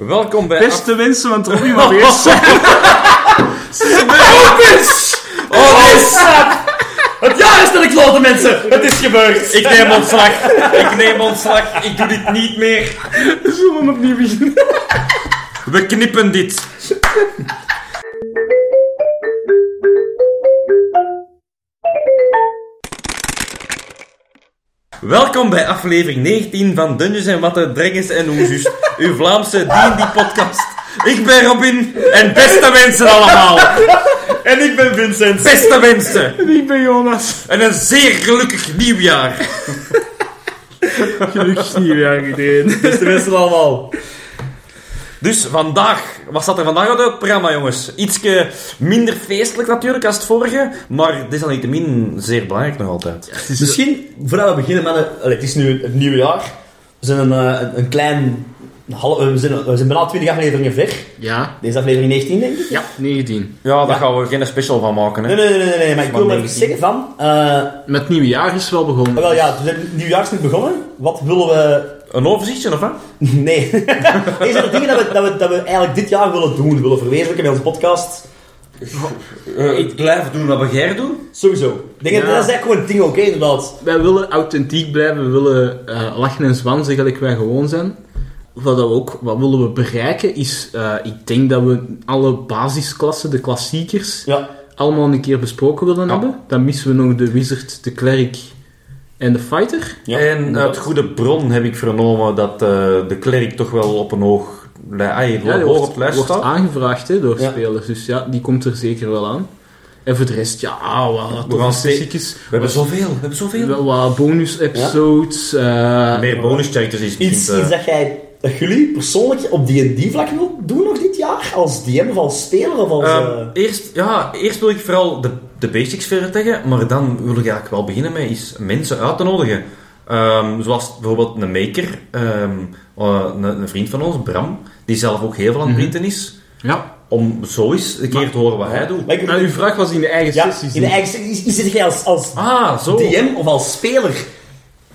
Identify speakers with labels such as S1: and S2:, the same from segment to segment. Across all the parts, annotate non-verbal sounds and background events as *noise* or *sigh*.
S1: Welkom bij...
S2: Beste wensen, want Robbie
S3: *laughs*
S2: mag eerst zijn.
S1: Oh,
S3: *laughs*
S1: bitch! Oh, bitch!
S3: Het jaar is dat ik klote mensen! Het is gebeurd!
S1: Ik neem ontslag. Ik neem ontslag. Ik doe dit niet meer.
S2: Zullen we opnieuw beginnen?
S1: We knippen dit. Welkom bij aflevering 19 van Dungeons en Watten, Drengens en Hoezus, uw Vlaamse D&D-podcast. Ik ben Robin en beste mensen allemaal.
S3: En ik ben Vincent.
S1: Beste mensen.
S2: Ik ben Jonas.
S1: En een zeer gelukkig nieuwjaar.
S2: Gelukkig nieuwjaar iedereen.
S3: Beste mensen allemaal.
S1: Dus vandaag, wat staat er vandaag op het programma, jongens? Ietsje minder feestelijk natuurlijk als het vorige, maar desalniettemin zeer belangrijk nog altijd.
S3: Misschien, voordat we beginnen, mannen... Allee, het is nu het nieuwe jaar. We zijn een, eh, een, een klein... een half- eh, we, zijn, we zijn bijna 20 afleveringen ver.
S4: Ja,
S3: Deze aflevering 19, denk ik.
S4: ja, 19.
S1: Ja, daar
S3: Ja.
S1: gaan we geen special van maken, hè?
S3: Nee, nee, nee, nee, nee, maar ik wil
S1: Maar
S3: maar even
S1: 19.
S3: zeggen van... eh,
S4: Met het nieuwe jaar is het wel
S3: maar
S4: begonnen.
S3: wel, ja, we zijn het nieuwjaar is nu begonnen. Wat willen we... *laughs*
S1: Een overzichtje, of wat?
S3: Nee. *laughs* Deze zijn de dingen dat we, dat, we, dat we eigenlijk dit jaar willen doen. Willen verwezenlijken met onze podcast.
S1: Eh, ik blijf doen wat we jij doen.
S3: Sowieso. Ik Denk dat,
S4: Ja.
S3: dat is eigenlijk gewoon het ding, oké, inderdaad.
S4: Wij willen authentiek blijven, we willen eh, lachen en zwansen gelijk wij gewoon zijn. Wat, dat we ook, wat willen we bereiken is, eh, ik denk dat we alle basisklassen, de klassiekers,
S3: Ja.
S4: allemaal een keer besproken willen
S1: Ja.
S4: hebben. Dan missen we nog de wizard, de klerk en de fighter.
S3: Ja.
S1: En uit goede bron heb ik vernomen dat eh, de klerk toch wel op een hoog... li- Ai,
S4: die
S1: hoog op
S4: wordt,
S1: het lijst
S4: wordt
S1: staat.
S4: aangevraagd hè, door
S3: Ja.
S4: spelers, dus ja, die komt er zeker wel aan. En voor de rest, ja, wat
S1: gaan
S4: toch
S1: ste-
S4: klassiekers.
S1: We hebben zoveel, we hebben zoveel.
S4: Wel wat bonus-episodes. eh,
S1: Meer bonus characters is eh. misschien
S3: Iets,
S1: te-
S3: iets dat jij, dat jullie persoonlijk op D&D vlak wil doen nog dit jaar? Als DM of als speler of als...
S1: Ehm,
S3: eh,
S1: eerst, ja, eerst wil ik vooral de, de basics vertellen, maar dan wil ik eigenlijk wel beginnen met is mensen uit te nodigen. Ehm, zoals bijvoorbeeld een maker, ehm, eh, een, een vriend van ons, Bram, die zelf ook heel veel aan het printen is,
S4: Ja.
S1: om zo eens een keer te horen wat hij doet.
S3: maar ik-
S4: Maar uw vraag was in de eigen
S3: ja,
S4: sessies.
S3: in de eigen... Is, is het jij als, als
S1: Ah, zo.
S3: DM of als speler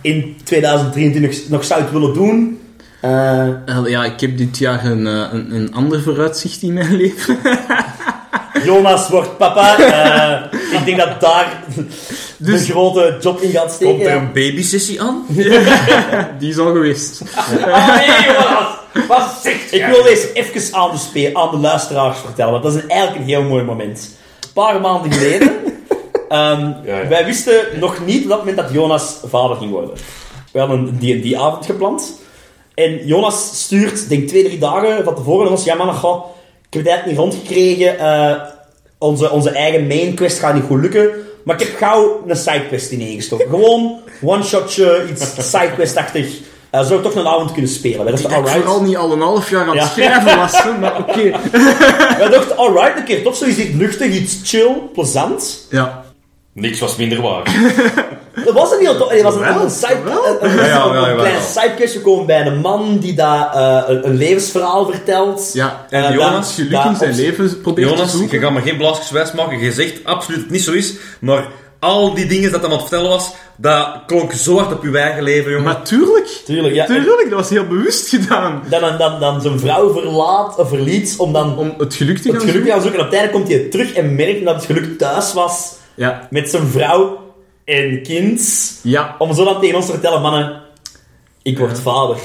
S3: in 2023 nog zou het willen doen? Eh,
S4: Eh, ja, ik heb dit jaar een, eh, een, een ander vooruitzicht in mijn *laughs* leven.
S3: Jonas wordt papa. *laughs* Eh, ik denk dat daar
S4: Dus-
S3: de grote job in gaat steken.
S1: Komt er een babysessie aan?
S4: Die is al geweest.
S3: Ah, *laughs* nee, Jonas. Wat zegt jij? Ik wil deze even aan de, spe- aan de luisteraars vertellen, want dat is een- eigenlijk een heel mooi moment. Een paar maanden *laughs* geleden, ehm,
S1: ja.
S3: wij wisten nog niet op dat moment dat Jonas vader ging worden. We hadden een D&D-avond gepland. En Jonas stuurt, denk twee, drie dagen van tevoren naar ons, ja man, goh, ik heb het eigenlijk niet rondgekregen, eh, onze, onze eigen main quest gaat niet goed lukken, maar ik heb gauw een sidequest ineengestoken. Gewoon one-shotje, iets sidequest-achtig. Eh, zodat we toch een avond kunnen spelen. Wij
S4: Ik
S3: dachten,
S4: heb
S3: alright.
S4: vooral niet al een half jaar aan het
S3: Ja.
S4: schrijven was, hè, maar oké.
S3: Wij dachten, alright, een keer toch zoiets iets luchtig, iets chill, plezant.
S4: Ja.
S1: *laughs* Niks was minder waar.
S3: Dat was een heel tof. Dat was een,
S4: Wel,
S3: een, side,
S4: wel.
S3: een, een-
S1: Ja, ja,
S3: een- een
S1: ja,
S3: klein
S1: wel.
S3: sidequestje komen bij een man die daar eh, een, een levensverhaal vertelt.
S4: ja.
S3: Eh,
S1: En
S3: dat-
S1: Jonas,
S4: Geluk
S3: dat
S4: in zijn
S3: op-
S4: leven probeert
S1: Jonas,
S4: te
S1: je
S4: zoeken.
S1: gaat me geen blaasjes wijs maken, je zegt absoluut dat het niet zo is, maar al die dingen dat hij aan het vertellen was, dat klonk zo hard op uw eigen leven, jongen.
S4: Maar tuurlijk.
S3: Tuurlijk, ja. en
S4: Tuurlijk, dat was heel bewust gedaan.
S3: Dan, dan, dan, dan zijn vrouw verlaat, eh, verliet om dan
S4: Om het geluk te gaan
S3: het geluk te
S4: zoeken.
S3: gaan zoeken. En uiteindelijk komt hij terug en merkt dat het geluk thuis was
S4: Ja.
S3: met zijn vrouw en kind.
S4: Ja.
S3: Om zo dan tegen ons te vertellen, mannen, ik word vader.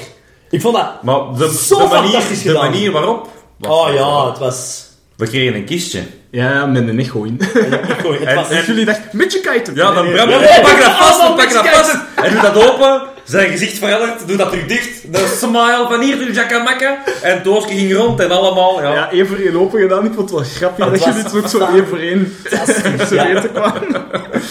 S3: Ik vond dat...
S1: Maar de,
S3: Zo
S1: de, manier,
S3: fantastisch
S1: de
S3: gedaan.
S1: manier waarop... was
S3: Oh
S1: wel-
S3: ja, het was...
S1: We kregen een kistje.
S4: Ja, met een echo
S3: *laughs*
S4: in.
S3: Het
S1: En-
S3: was...
S1: en-
S4: Dus jullie dachten, met je kite.
S1: Ja, dan Bram, pak dat
S3: *laughs*
S1: vast, pak dat vast. Hij doet dat open, zijn gezicht verandert, doet dat terug dicht. De smile van hier, terug jakkamakken. En Doorke ging rond en allemaal, ja.
S4: Ja, één voor één open gedaan. Ik vond het wel grappig dat,
S3: Dat was
S4: jullie het ook zo één voor één *laughs* te
S3: *laughs* Ja.
S4: weten kwamen.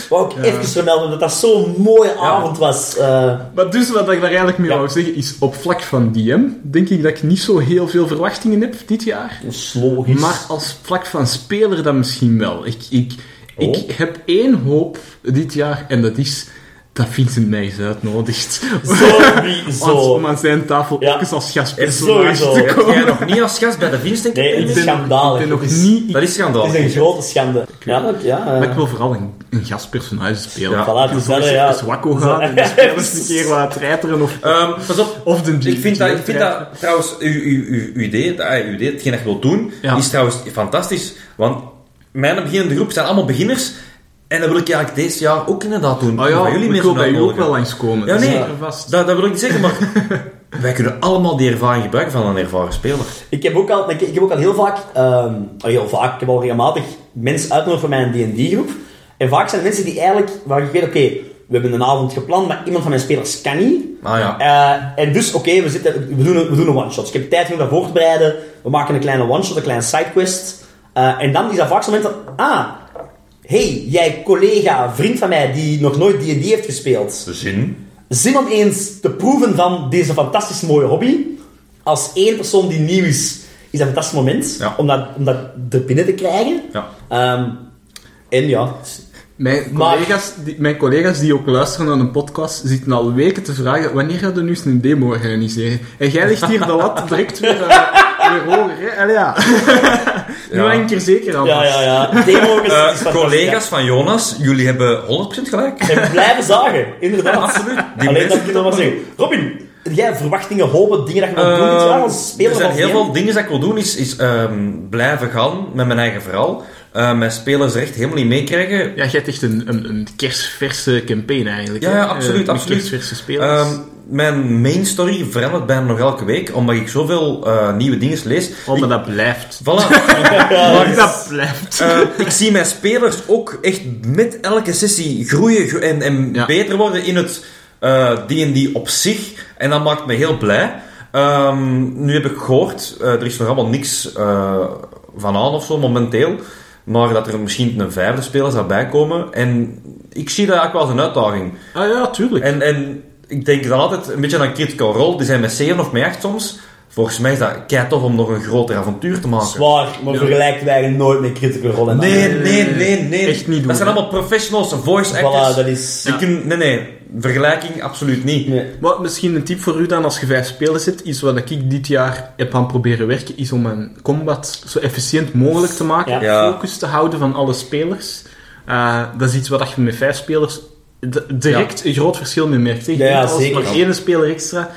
S3: Wou ik even vermelden dat dat zo'n mooie avond was. eh.
S4: Maar dus wat ik daar eigenlijk mee
S3: Ja.
S4: wou zeggen is, op vlak van DM denk ik dat ik niet zo heel veel verwachtingen heb dit jaar.
S3: Dat is logisch.
S4: Maar als vlak van speler
S3: Oh.
S4: dan misschien wel. Ik, ik, ik heb één hoop dit jaar en dat is dat Vincent mij eens uitnodigt. *laughs* Om,
S3: Sowieso.
S4: om aan zijn tafel
S3: Ja.
S4: ook eens als
S3: Is
S4: gastpersonage
S3: sowieso.
S4: te
S1: Heb
S4: komen.
S1: jij nog niet als gast bij de Vincent
S3: Nee,
S1: Entertainment?
S3: het is
S4: ben-
S3: schandalig.
S4: ik ben nog
S3: Het is-
S4: niet...
S1: Dat is schandaal.
S3: Het is een grote schande. Ja, dat, ja.
S4: Maar
S3: eh,
S4: ik wil vooral een, een gastpersonage spelen.
S1: Ja.
S3: Voilà, het
S4: Ik
S3: is
S4: wil
S3: dat,
S4: eens
S3: ja.
S4: even wakko gaan en
S3: *laughs*
S4: dan spelen we eens een keer wat treiteren of...
S1: Ehm, pas op.
S4: Of de
S1: Ik vind dat, ik vind
S4: treiteren.
S1: dat trouwens, uw, uw, uw, uw idee, dat, ah, uw idee, hetgeen dat je wilt doen,
S4: Ja.
S1: is trouwens fantastisch. Want mijn beginnende groep zijn allemaal beginners. En dat wil ik eigenlijk deze jaar ook inderdaad doen.
S4: Ah ja,
S1: Bij
S4: jullie ik
S1: mensen
S4: wil bij u ook
S1: uitnodigen.
S4: wel langskomen.
S1: Ja,
S4: dat is
S1: nee.
S4: zeker vast.
S1: Dat, dat wil ik niet zeggen, maar *laughs* wij kunnen allemaal die ervaring gebruiken van een ervaren speler.
S3: Ik heb ook al, ik, ik heb ook al heel vaak, ehm, al heel vaak, ik heb al regelmatig mensen uitgenodigd voor mijn D&D-groep. En vaak zijn het mensen die eigenlijk, waar ik weet, oké, we hebben een avond gepland, maar iemand van mijn spelers kan niet.
S1: Ah ja.
S3: Eh, en dus, oké, we we, we, doen een- we doen een one-shot. Dus ik heb tijd genoeg daarvoor te bereiden. We maken een kleine one-shot, een kleine sidequest. Eh, en dan is dat vaak zo'n moment dat, ah, hey, jij collega, vriend van mij, die nog nooit D&D heeft gespeeld
S1: De zin.
S3: zin om eens te proeven van deze fantastisch mooie hobby. Als één persoon die nieuw is, is dat een fantastisch moment
S1: Ja.
S3: om, dat, om dat er binnen te krijgen.
S1: Ja.
S3: Ehm, en ja,
S4: Mijn
S3: Maar-
S4: collega's, die, mijn collega's die ook luisteren naar een podcast zitten al weken te vragen wanneer gaan we nu eens een demo organiseren? En jij legt hier de lat *laughs* direct weer, eh, weer hoger. Hè? Allee,
S1: *laughs*
S4: ja. nu
S1: Ja.
S4: hang ik er zeker aan
S3: ja,
S4: vast.
S3: ja, ja. *laughs* Demo is,
S1: Eh,
S3: is fantastisch,
S1: collega's van Jonas, jullie hebben 100% gelijk.
S3: ja. En blijven zagen,
S1: *laughs*
S3: inderdaad.
S1: Absoluut. Die
S3: Alleen dat
S1: mensen-
S3: ik nog maar zeggen. Robin, heb jij verwachtingen, hopen, dingen dat je nog doen dit jaar als
S1: Ehm,
S3: speler
S1: er zijn
S3: van
S1: heel
S3: Veerle?
S1: veel dingen dat ik wil doen, is, is ehm, blijven gaan met mijn eigen verhaal. Eh, mijn spelers er echt helemaal niet meekrijgen.
S4: Ja, jij hebt echt een, een, een kerstverse campaign eigenlijk.
S1: Ja,
S4: hè?
S1: ja, absoluut,
S4: Eh, met
S1: absoluut.
S4: kerstverse spelers.
S1: Ehm, mijn main story verandert bijna nog elke week, omdat ik zoveel eh, nieuwe dingen lees.
S4: oh, maar dat blijft.
S1: Voilà.
S3: Ja,
S1: Maar-
S4: Dat blijft.
S1: Eh, ik zie mijn spelers ook echt met elke sessie groeien gro- en, en
S4: Ja.
S1: beter worden in het eh, D&D op zich. En dat maakt me heel blij. Ehm, nu heb ik gehoord, eh, er is nog allemaal niks eh, van aan of zo momenteel. Maar dat er misschien een vijfde speler zou bijkomen. En ik zie dat eigenlijk wel als een uitdaging.
S4: Ah ja, tuurlijk.
S1: En, en ik denk dan altijd een beetje aan Critical Role. Die zijn met 7 of met 8 soms. Volgens mij is dat kei tof om nog een groter avontuur te maken.
S3: Zwaar, maar
S4: Ja.
S3: vergelijkt wij eigenlijk nooit met Critical Role. en
S1: Nee,
S3: andere.
S1: nee, nee, nee.
S4: Echt niet doen,
S1: Dat zijn
S4: hè?
S1: allemaal professionals, voice actors.
S3: Voilà, dat is...
S1: Die kunnen, nee, nee, vergelijking absoluut niet.
S3: Nee.
S4: Maar misschien een tip voor u dan, als je vijf spelers zit, is wat ik dit jaar heb aan proberen werken, is om een combat zo efficiënt mogelijk te maken.
S3: Ja.
S1: Ja.
S4: Focus te houden van alle spelers. Eh, dat is iets wat je met vijf spelers d- direct een groot verschil mee merkt. hè. Je
S3: Ja, ja,
S4: kunt als
S3: zeker.
S4: maar één speler extra,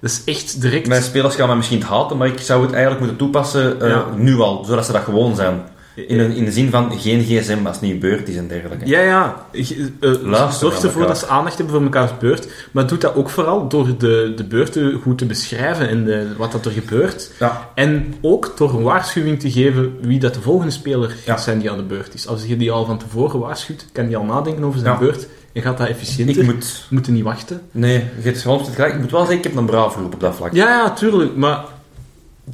S4: dat is echt direct...
S1: Mijn spelers gaan mij misschien het haten, maar ik zou het eigenlijk moeten toepassen eh,
S4: Ja.
S1: nu al, zodat ze dat gewoon zijn. In, een- in de zin van geen gsm als het niet beurt is en dergelijke.
S4: Ja, ja. Je- eh,
S1: Luister
S4: zorg
S1: naar
S4: ervoor
S1: elkaar.
S4: dat ze aandacht hebben voor mekaars beurt. Maar doe dat ook vooral door de, de beurten goed te beschrijven en de, wat dat er gebeurt.
S1: Ja.
S4: En ook door een waarschuwing te geven wie dat de volgende speler
S1: Ja.
S4: gaat zijn die aan de beurt is. Als je die al van tevoren waarschuwt, kan die al nadenken over zijn
S1: Ja.
S4: beurt en gaat dat efficiënter.
S1: Ik moet...
S4: Moeten niet wachten.
S1: Nee, je hebt gewoon gelijk. Ik moet wel zeggen, ik heb een braaf groep op dat vlak.
S4: Ja, ja, tuurlijk. Maar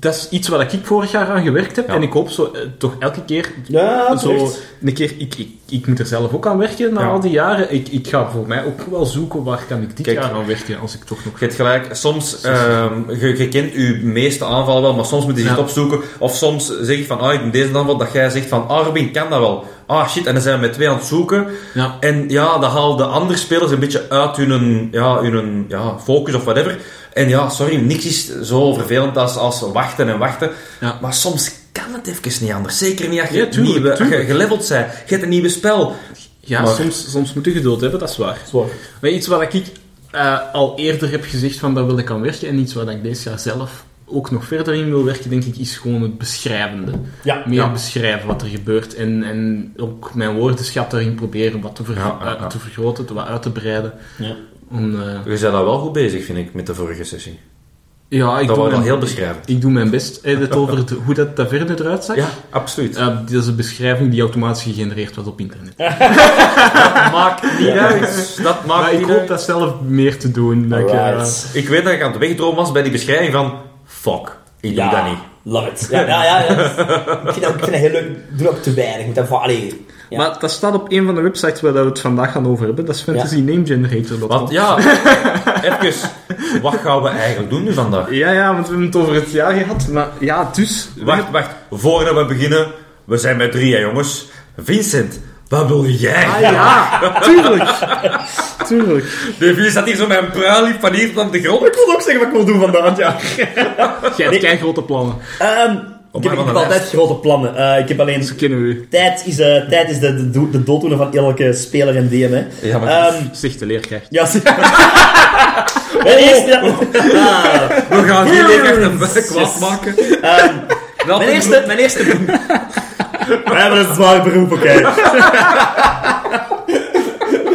S4: dat is iets waar ik vorig jaar aan gewerkt heb.
S1: Ja.
S4: En ik hoop zo, eh, toch elke keer
S3: Ja,
S4: zo
S3: terecht.
S4: een keer, ik, ik, ik moet er zelf ook aan werken na
S1: Ja.
S4: al die jaren. Ik, ik ga voor mij ook wel zoeken waar kan ik dit
S1: Kijk.
S4: jaar aan werken als ik toch nog...
S1: Je hebt gelijk, soms, ehm, je, je kent je meeste aanvallen wel, maar soms moet je ze
S4: Ja.
S1: het opzoeken. Of soms zeg je van, ah, ik doe deze aanval, dat jij zegt van, ah, Robin kan dat wel. Ah, shit, en dan zijn we met twee aan het zoeken.
S4: Ja.
S1: En ja, dan halen de andere spelers een beetje uit hun, ja, hun ja, focus of whatever. En ja, sorry, niks is zo vervelend als, als wachten en wachten.
S4: Ja.
S1: Maar soms kan het even niet anders. Zeker niet als je
S4: Ja, tuurlijk,
S1: nieuwe,
S4: tuurlijk.
S1: ge- geleveld bent. Je hebt een nieuw spel.
S4: Ja,
S1: Maar-
S4: soms, soms moet je geduld hebben, dat is waar.
S3: Zwaar.
S4: Maar iets wat ik eh, al eerder heb gezegd van dat wil ik aan werken en iets wat ik deze jaar zelf ook nog verder in wil werken, denk ik, is gewoon het beschrijvende.
S3: Ja.
S4: Meer
S1: Ja.
S4: beschrijven wat er gebeurt en, en ook mijn woordenschat daarin proberen wat te, ver-
S1: Ja, ja, ja.
S4: eh, te vergroten, te, wat uit te breiden.
S3: Ja.
S4: Om, eh,
S1: Je bent daar wel goed bezig, vind ik, met de vorige sessie.
S4: ja,
S1: dat
S4: ik doe
S1: was wel
S4: mijn,
S1: heel beschrijvend.
S4: ik doe mijn best. Eh, het over de- hoe dat taverne eruit zag.
S1: Ja, absoluut.
S4: Eh, dat is een beschrijving die automatisch gegenereerd wordt op internet.
S1: maakt niet uit. Dat maakt
S4: maar ik
S1: niet
S4: hoop
S1: uit.
S4: dat zelf meer te doen. Dat ik, eh,
S3: Alright.
S1: Ik weet dat ik aan het wegdromen was bij die beschrijving van... Fuck, ik doe dat niet.
S3: Love it. Ja, ja, ja. ja. ik, vind dat, ik vind dat heel leuk. Ik doe dat ook te weinig. Ik moet dat voor allee. Ja.
S4: Maar dat staat op een van de websites waar we het vandaag gaan over hebben. Dat is
S1: Want
S4: fantasynamegenerator.com.
S1: ja, even, wat gaan we eigenlijk doen nu vandaag?
S4: Ja, ja, want we hebben het over het jaar gehad. Maar ja, dus...
S1: Wacht, wacht, voordat we beginnen, we zijn met drieën jongens. Vincent, Wat wil jij?
S4: Ah ja, tuurlijk. Tuurlijk.
S1: De vier staat hier zo met een pruil in panier op de grond.
S3: Ik wil ook zeggen wat ik wil doen vandaag, ja.
S4: Jij hebt geen grote plannen.
S3: Ehm,
S1: van
S3: ik heb, ik
S1: de
S3: heb altijd
S1: lijst.
S3: grote plannen. Eh, ik heb alleen...
S1: Dus-
S4: Ze kennen u.
S3: Tijd is, eh, tijd is de, de, do- de dooddoener van elke speler in DM, hè.
S1: Ja, maar
S3: Ehm,
S4: Zegt de leerkracht.
S1: *laughs*
S3: ja, zie- Mijn
S1: Oh.
S3: eerste... Ah,
S1: we gaan hier
S3: Yes.
S1: lekker een werk kwaad maken.
S3: ehm,
S1: *laughs* Dat
S3: *laughs* mijn
S1: is-
S3: eerste... Mijn eerste... We hebben een zwaar beroep, oké.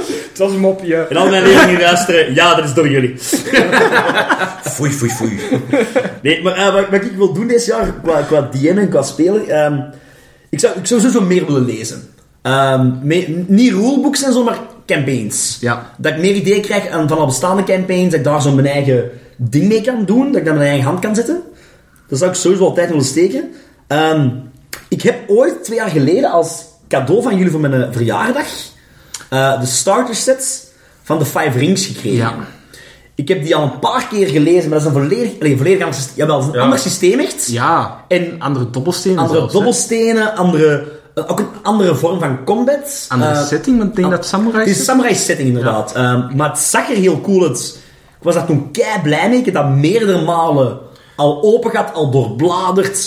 S2: Het was een mopje.
S3: En al mijn leerlingen luisteren, ja, dat is door jullie.
S1: Foei, foei, foei.
S3: Nee, maar eh, wat, wat ik wil doen dit jaar, qua, qua DM en qua spelen, ehm, ik, zou, ik zou sowieso meer willen lezen. Ehm, me- niet rulebooks en zo, maar campaigns.
S4: Ja.
S3: Dat ik meer idee krijg aan, van al bestaande campaigns, dat ik daar zo mijn eigen ding mee kan doen, dat ik daar mijn eigen hand kan zetten. Dat zou ik sowieso altijd willen steken. Ehm, ik heb ooit, twee jaar geleden, als cadeau van jullie voor mijn eh, verjaardag, eh, de starter sets van de Five Rings gekregen.
S4: Ja.
S3: Ik heb die al een paar keer gelezen, maar dat is een volledig, allee, volledig ander systeem. Jawel, dat is een
S1: Ja.
S3: ander systeem echt.
S4: Ja.
S3: En
S4: Andere dobbelstenen
S3: andere
S4: zelfs, hè.
S3: dobbelstenen, andere, eh, ook een andere vorm van combat.
S4: Andere
S3: Eh,
S4: setting, want ik denk
S3: an-
S4: dat samurai
S3: Het is een samurai setting inderdaad. Ehm, maar het zag er heel cool uit. Ik was daar toen kei blij mee. Ik heb dat meerdere malen al open gehad, al doorbladerd.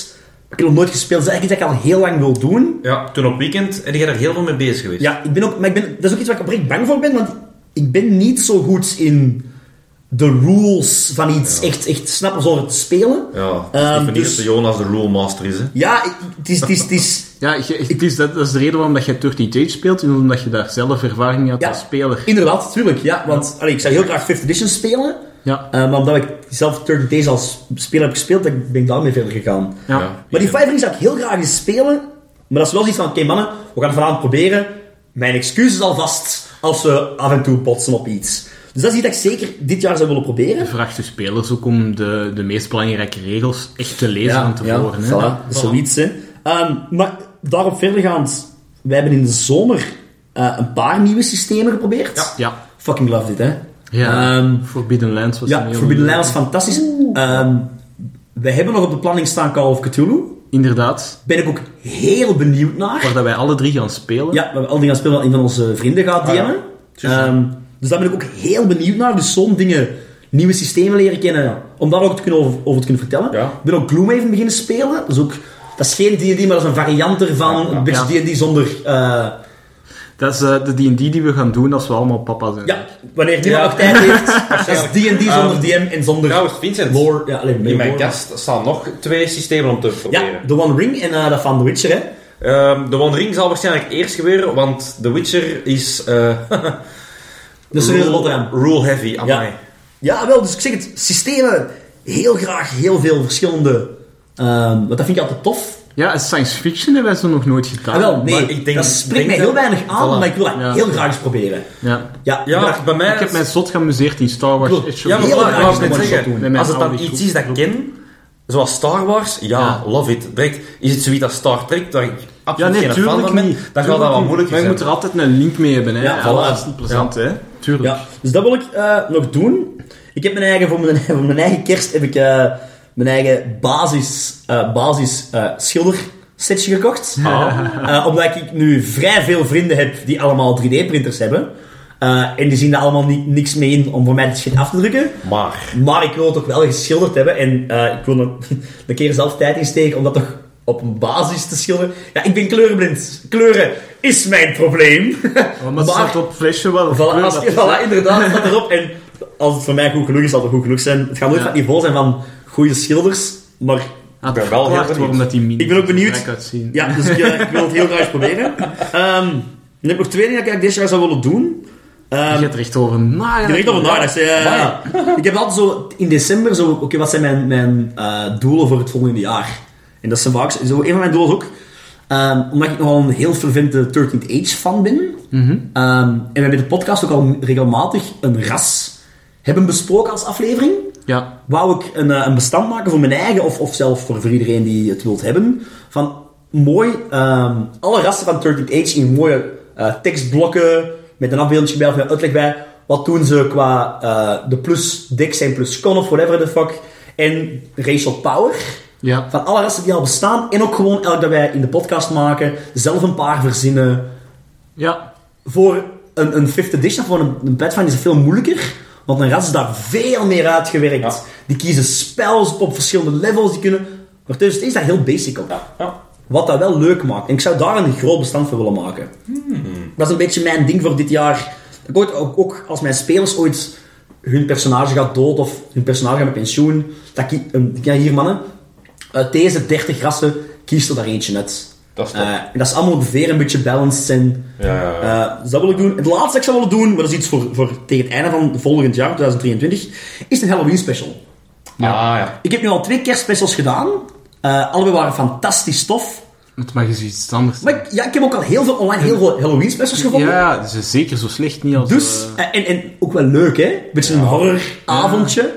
S3: Ik heb nog nooit gespeeld. Dat is eigenlijk iets dat ik al heel lang wil doen.
S1: Ja, toen op weekend en jij daar heel veel mee bezig geweest.
S3: Dus Ja, ik ben ook, maar ik ben, dat is ook iets waar ik oprecht bang voor ben, want ik ben niet zo goed in de rules van iets echt, echt snappen zonder te spelen.
S1: Ja, het is
S3: Ehm,
S1: niet voor niets
S3: dus-
S1: dat Jonas de rulemaster is, hè.
S3: Ja, ik- het is, het is, het
S4: *laughs*
S3: is,
S4: Ja, je- het is, dat, dat is de reden waarom dat je 13 Age speelt, en omdat je daar zelf ervaring mee had
S3: Ja.
S4: als speler.
S3: inderdaad, tuurlijk, ja, want allee, ik zou heel graag 5th edition spelen,
S4: Ja.
S3: eh, maar omdat ik zelf 30 Days als speler heb gespeeld, ben ik- ben ik daarmee verder gegaan.
S4: Ja.
S3: Maar die Five Rings zou ik heel graag eens spelen. Maar dat is wel iets van, oké mannen, we gaan het vanavond proberen. Mijn excuus is alvast als we af en toe botsen op iets. Dus dat is iets dat ik zeker dit jaar zou willen proberen.
S4: Je vraagt de spelers ook om de, de meest belangrijke regels echt te lezen van tevoren. hè.
S3: ja, voilà, dat is zoiets, hè. Ehm, maar daarop verdergaand, wij hebben in de zomer eh, een paar nieuwe systemen geprobeerd.
S4: Ja.
S3: Fucking love dit, hè.
S4: Ja.
S3: Ehm,
S4: Forbidden Lands was een
S3: ja,
S4: heel
S3: Forbidden
S4: leuke.
S3: Land is fantastisch. Ehm, we hebben nog op de planning staan Call of Cthulhu.
S4: Inderdaad.
S3: Ben ik ook heel benieuwd naar.
S4: Waar dat wij alle drie gaan spelen.
S3: Ja, we hebben al die gaan spelen dat een van onze vrienden gaat
S1: Ah,
S3: DM'en. Ehm, dus daar ben ik ook heel benieuwd naar. Dus zo'n dingen, nieuwe systemen leren kennen, om daar ook te kunnen over, over te kunnen vertellen.
S1: Ja.
S3: Ik ben ook Gloomhaven beginnen spelen. Dus ook, dat is geen D&D, maar dat is een variant ervan. Een beetje D&D zonder... eh,
S4: Dat is eh, de D&D die we gaan doen als we allemaal papa zijn.
S3: ja, wanneer niemand
S1: Ja. Ehm,
S3: nog tijd
S1: *laughs*
S3: heeft. dat is D&D zonder DM en zonder
S1: Trouwens, Vincent,
S3: lore. Ja, alleen,
S1: in mijn
S3: lore.
S1: kast staan nog twee systemen om te
S3: Ja,
S1: proberen.
S3: The One Ring en eh, dat van The Witcher, hè.
S1: Ehm, de One Ring zal waarschijnlijk eerst gebeuren, want The Witcher is... eh
S3: Dus er is een lot eraan.
S1: *laughs* rule heavy, amai.
S3: Ja. Ja, wel, dus ik zeg het, systemen, heel graag heel veel verschillende. ehm, want dat vind ik altijd tof.
S4: Ja, en science fiction hebben wij zo nog nooit gedaan.
S3: Ah, wel, nee,
S1: maar ik denk-
S3: dat spreekt
S1: denk
S3: mij
S1: dat-
S3: heel weinig aan,
S1: Voilà.
S3: maar ik wil dat
S4: Ja.
S3: heel graag eens proberen.
S4: Ja.
S3: Ja,
S1: Ja,
S3: maar-
S1: bij mij...
S4: Ik heb mij zot geamuseerd in Star Wars.
S3: Klopt.
S4: Edge of
S1: Ja, maar
S3: Heel
S1: voilà,
S3: graag
S1: ik wou
S3: een
S1: net
S3: one-shot
S1: zeggen,
S4: doen.
S1: als het dan
S4: Met mijn
S1: iets is dat ik ken, zoals Star Wars, ja,
S4: Ja.
S1: love it. Direct, is het zoiets als Star Trek, waar ik
S4: ja,
S1: absoluut
S4: nee,
S1: geen fan
S4: tuurlijk
S1: van
S4: niet.
S1: ben, dan gaat
S4: Tuurlijk
S1: dat wel
S4: niet.
S1: moeilijk
S4: Maar
S1: zijn.
S4: je moet er altijd een link mee hebben, hè.
S3: Ja,
S4: Ja,
S3: voilà.
S4: dat is niet plezant, hè. Tuurlijk.
S3: ja. Dus dat wil ik eh, nog doen. Ik heb mijn eigen, voor mijn, *laughs* voor mijn eigen kerst heb ik eh, mijn eigen basis, eh basis eh, schilder setje gekocht. *laughs* Eh, omdat ik nu vrij veel vrienden heb die allemaal 3D-printers hebben. Eh, en die zien daar allemaal ni- niks mee in om voor mij dit shit af te drukken.
S1: Maar,
S3: Maar ik wil het toch wel geschilderd hebben. En eh, ik wil er een *laughs* keer zelf tijd in steken om dat toch op een basis te schilderen. Ja, ik ben kleurenblind. Kleuren is mijn
S4: *laughs*
S3: probleem.
S4: Maar, het staat op flesje wel.
S3: Voilà, als, *laughs*
S4: dat-
S3: voilà, inderdaad, staat erop. En als het voor mij goed genoeg is, zal het goed genoeg zijn. Het gaat nooit
S4: Ja.
S3: van het niveau zijn van goede schilders, maar...
S4: Ah,
S1: ben wel heel
S4: verklaart waarom
S1: benieuwd.
S4: dat die mini
S3: Ik ben ook benieuwd.
S4: er uitzien.
S3: Ja, dus ik, eh, ik wil het heel graag eens
S4: *laughs*
S3: proberen. Ehm ik heb nog twee dingen dat ik dit jaar zou willen doen.
S4: Je
S3: Ehm
S4: gaat er echt over nagedacht.
S3: direct over nagedacht. eh, ik heb altijd zo in december zo... Oké, wat zijn mijn, mijn eh, doelen voor het volgende jaar? En dat zijn vaak... Zo, een van mijn doelen is ook... ehm, omdat ik nogal een heel fervente 13th Age fan ben. Ehm, en we hebben de podcast ook al regelmatig een ras hebben besproken als aflevering.
S4: Ja.
S3: Wou ik een, eh, een bestand maken voor mijn eigen, of, of zelf voor, voor iedereen die het wilt hebben, van mooi, ehm, alle rassen van 13 Age in mooie eh, tekstblokken, met een afbeelding bij of een uitleg bij, wat doen ze qua eh, de plus dik zijn, plus con of whatever the fuck, en racial power.
S4: Ja.
S3: Van alle rassen die al bestaan. En ook gewoon elk dat wij in de podcast maken. Zelf een paar verzinnen.
S4: Ja.
S3: Voor een, een fifth edition, voor een, een Pathfinder is het veel moeilijker. Want een ras is daar veel meer uitgewerkt.
S1: Ja.
S3: Die kiezen spells op verschillende levels. Die kunnen... Maar tussen is dat heel basic op.
S1: Ja.
S3: Wat dat wel leuk maakt. En ik zou daar een groot bestand voor willen maken.
S1: Hmm.
S3: Dat is een beetje mijn ding voor dit jaar. Ik ooit ook, ook als mijn spelers ooit hun personage gaat dood of hun personage gaat met pensioen. Dat kie- een- ja, hier mannen, uit deze 30 rassen kiest er daar eentje uit.
S1: Dat is top.
S3: Eh, en dat is allemaal ongeveer een beetje balanced zijn.
S1: Ja, ja, ja.
S3: Eh, dus dat wil ik doen. Het laatste dat ik zou willen doen, maar dat is iets voor, voor tegen het einde van volgend jaar, 2023, is een Halloween special.
S1: Ah, ja.
S3: Ik heb nu al twee kerstspecials gedaan. Eh allebei waren fantastisch tof.
S4: Het mag eens iets anders
S3: Maar ik, ja, ik heb ook al heel veel online heel veel Halloween specials gevonden.
S4: Ja, ze is zeker zo slecht niet als...
S3: Dus,
S4: eh,
S3: en, en ook wel leuk, hè? Beetje een horroravondje.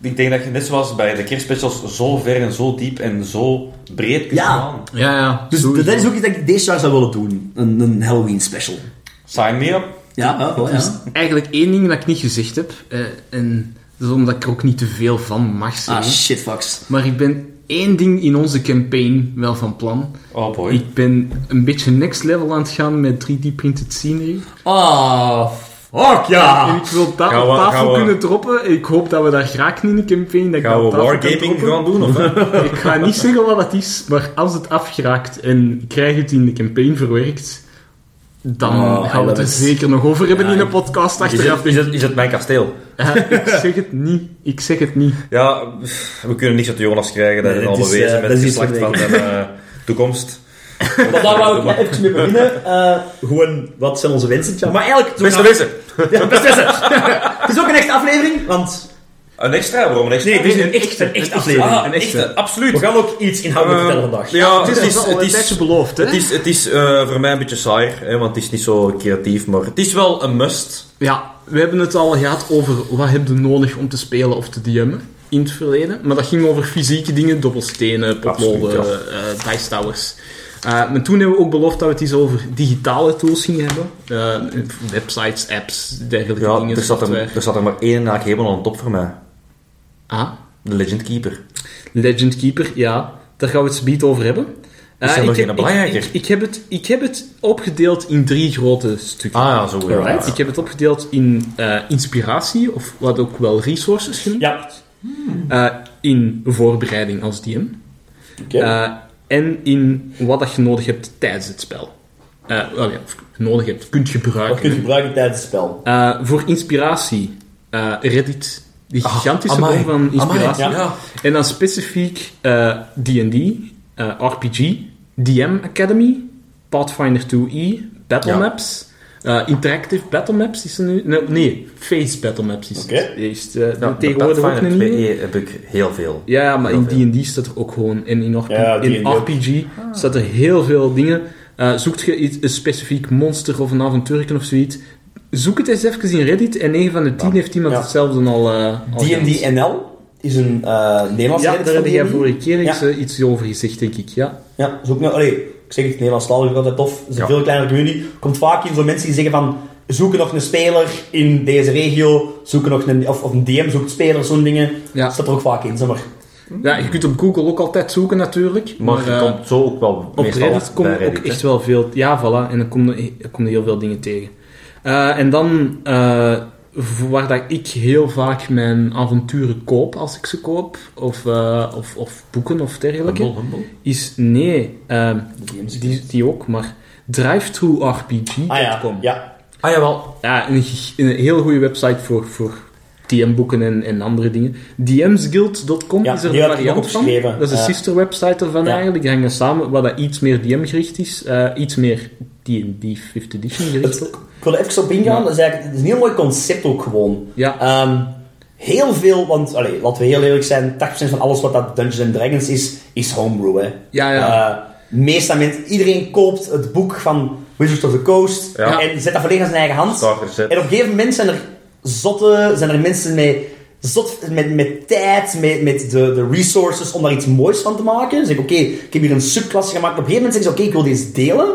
S1: Ik denk dat je net zoals bij de kerstspecials zo ver en zo diep en zo breed kunt
S3: Ja.
S1: gaan.
S4: ja, ja.
S3: Dus
S4: sowieso.
S3: dat is ook iets dat ik deze jaar zou willen doen. Een, een Halloween special.
S1: Sign me up.
S3: Ja, oh, ja, wel, ja.
S4: Eigenlijk één ding dat ik niet gezegd heb, eh, en dat is omdat ik er ook niet te veel van mag
S3: Ah,
S4: zeggen.
S3: shit, fucks.
S4: maar ik ben één ding in onze campaign wel van plan.
S1: Oh boy.
S4: Ik ben een beetje next level aan het gaan met 3D-printed scenery.
S3: Ah, fuck
S4: En
S3: ja!
S4: ik wil dat
S1: Ah, Gaan
S4: op
S1: we-
S4: tafel
S1: gaan we-
S4: kunnen droppen. Ik hoop dat we dat graag in de campaign... Dat ik dat
S1: Gaan
S4: op
S1: we
S4: tafel kan
S1: wargaming
S4: droppen.
S1: gaan doen? Of, hè?
S4: *laughs* Ik ga niet zeggen wat het is, maar als het afgeraakt en ik krijg het in de campaign verwerkt, dan
S1: Ah,
S3: Oh, I
S4: gaan we het
S3: love
S4: er
S3: it.
S4: zeker nog over hebben
S3: Ja,
S4: in de
S3: ik-
S4: podcast
S1: is,
S4: achteraf.
S1: het, is, het, is het mijn kasteel?
S4: Ja, ik zeg het niet. Ik zeg het niet.
S1: Ja, pff, we kunnen niks uit Jonas krijgen. Dat
S3: Nee,
S1: is al
S3: het is,
S1: bewezen
S3: eh,
S1: met het
S3: dat is iets
S1: geslacht van de eh,
S3: *laughs*
S1: toekomst.
S3: Maar daar wou ik nog even mee *laughs* beginnen. Eh, gewoon, wat zijn onze wensen? Tja? Maar eigenlijk... zo
S1: Beste
S3: gaan-
S1: mensen,
S3: Ja, beste wensen. *laughs* Het is ook een echte aflevering, want...
S1: een extra, waarom een extra?
S3: Nee, dit is een echte, een echte aflevering.
S1: Ah,
S3: Een
S1: echte,
S3: echte.
S1: absoluut.
S3: We gaan ook iets inhoudelijk
S1: Eh,
S3: vertellen vandaag.
S1: Ja, het is, dus-
S4: al
S1: het
S4: een
S1: is,
S4: tijdje beloofd, hè?
S1: het is, het is eh, voor mij een beetje saai, hè, want het is niet zo creatief, maar het is wel een must.
S4: Ja, we hebben het al gehad over wat heb je nodig om te spelen of te DM'en in het verleden. Maar dat ging over fysieke dingen, dobbelstenen, potloden,
S1: Absoluut,
S4: eh, dice towers. Eh, maar toen hebben we ook beloofd dat we het eens over digitale tools gingen hebben. Eh, websites, apps, dergelijke
S1: Ja,
S4: dingen.
S1: er zat, er,
S4: software.
S1: er zat er maar één naak helemaal aan de top voor mij.
S4: Ah,
S1: De Legend Keeper.
S4: Legend Keeper, ja. Daar gaan we het zometeen over hebben.
S1: Is
S4: Eh,
S1: dat nog
S4: ik heb-
S1: een belangrijker?
S4: Ik, ik, ik heb het, ik heb het opgedeeld in drie grote stukken.
S1: Ah ja, zo. Ja.
S4: Ik heb het opgedeeld in eh, inspiratie, of wat ook wel resources genoemd.
S3: Ja.
S4: Eh, in voorbereiding als DM.
S3: Oké.
S4: Eh, en in wat dat je nodig hebt tijdens het spel. Eh, wel ja, of nodig hebt, kunt gebruiken.
S3: Wat kun je gebruiken tijdens het spel?
S4: Eh, voor inspiratie, eh, Reddit. Die gigantische
S1: Ah, amai.
S4: bron van inspiratie.
S1: Amai, ja.
S4: En dan specifiek eh, D&D, eh, RPG, DM Academy, Pathfinder 2e, Battle
S1: Ja.
S4: Maps, eh, Interactive Battle Maps is er nu... Nee, nee Face Battle Maps is het.
S3: Oké.
S4: Is, eh,
S1: Ja, E. de
S4: tegenwoordig ook een
S1: Pathfinder
S4: nieuwe.
S1: 2E heb ik heel veel.
S4: Ja, maar
S1: Heel
S4: in D&D staat er ook gewoon... En in, RP,
S3: Ja,
S4: in
S3: D&D.
S4: RPG staat er heel veel dingen. Eh, zoekt je iets, een specifiek monster of een avontuurken of zoiets... Zoek het eens even in Reddit en 9 van de 10 heeft iemand
S3: Ja.
S4: hetzelfde al... eh, al gedaan.
S3: D&D NL is een eh Nederlands
S4: Ja,
S3: edit
S4: daar heb
S3: van
S4: jij
S3: D&D.
S4: vorige keer iets,
S3: Ja.
S4: eh, iets over gezegd, denk ik. Ja.
S3: Ja, is ook nou, allee, ik zeg het Nederlands taal is ook altijd tof. Het is een
S1: Ja.
S3: veel kleinere community. Komt vaak in zo'n mensen die zeggen van zoeken nog een speler in deze regio, zoeken nog een, of, of een DM zoekt spelers, zo'n dingen.
S4: Ja.
S3: Dat staat er ook vaak in, zeg maar.
S4: ja, je kunt op Google ook altijd zoeken natuurlijk.
S1: Maar, je
S4: eh,
S1: komt zo ook wel
S4: op
S1: meestal
S4: Reddit
S1: bij
S4: komen ook
S1: Reddit, hè.
S4: echt wel veel... Ja, voilà. En dan komen er kom heel veel dingen tegen. Eh, en dan... eh, voor waar dat ik heel vaak mijn avonturen koop, als ik ze koop, of, eh, of, of boeken of dergelijke,
S1: Humble, humble.
S4: is... Nee, eh, die, die ook, maar... DriveThruRPG.com
S3: Ah ja, ja.
S1: Ah jawel.
S4: ja, een, gig- een heel goede website voor, voor DM-boeken en, en andere dingen. DMsguild.com
S3: Ja,
S4: is er
S3: die
S4: een
S3: heb ik ook
S4: variant van.
S3: opgeschreven.
S4: Dat is een
S3: Ja.
S4: sister-website ervan
S3: Ja.
S4: eigenlijk. Die hangen samen, waar dat iets meer DM-gericht is. eh, iets meer D&D 5th Edition gericht
S3: Het-
S4: ook.
S3: ik wil er even op ingaan. Dat is eigenlijk het is een heel mooi concept ook gewoon.
S4: Ja,
S3: Ehm, heel veel, want allee, laten we heel eerlijk zijn, 80% van alles wat dat Dungeons and Dragons is, is homebrew. Hè.
S4: ja, ja.
S3: Eh, meestal mensen, iedereen koopt het boek van Wizards of the Coast
S1: Ja.
S3: en zet dat volledig aan zijn eigen hand.
S1: Starter set.
S3: En op een gegeven moment zijn er zotten, zijn er mensen met, zot, met, met tijd, met, met de, de resources om daar iets moois van te maken. Ze zeggen, oké, ik heb hier een subklasse gemaakt. Op een gegeven moment zeggen ze, oké, ik wil deze delen.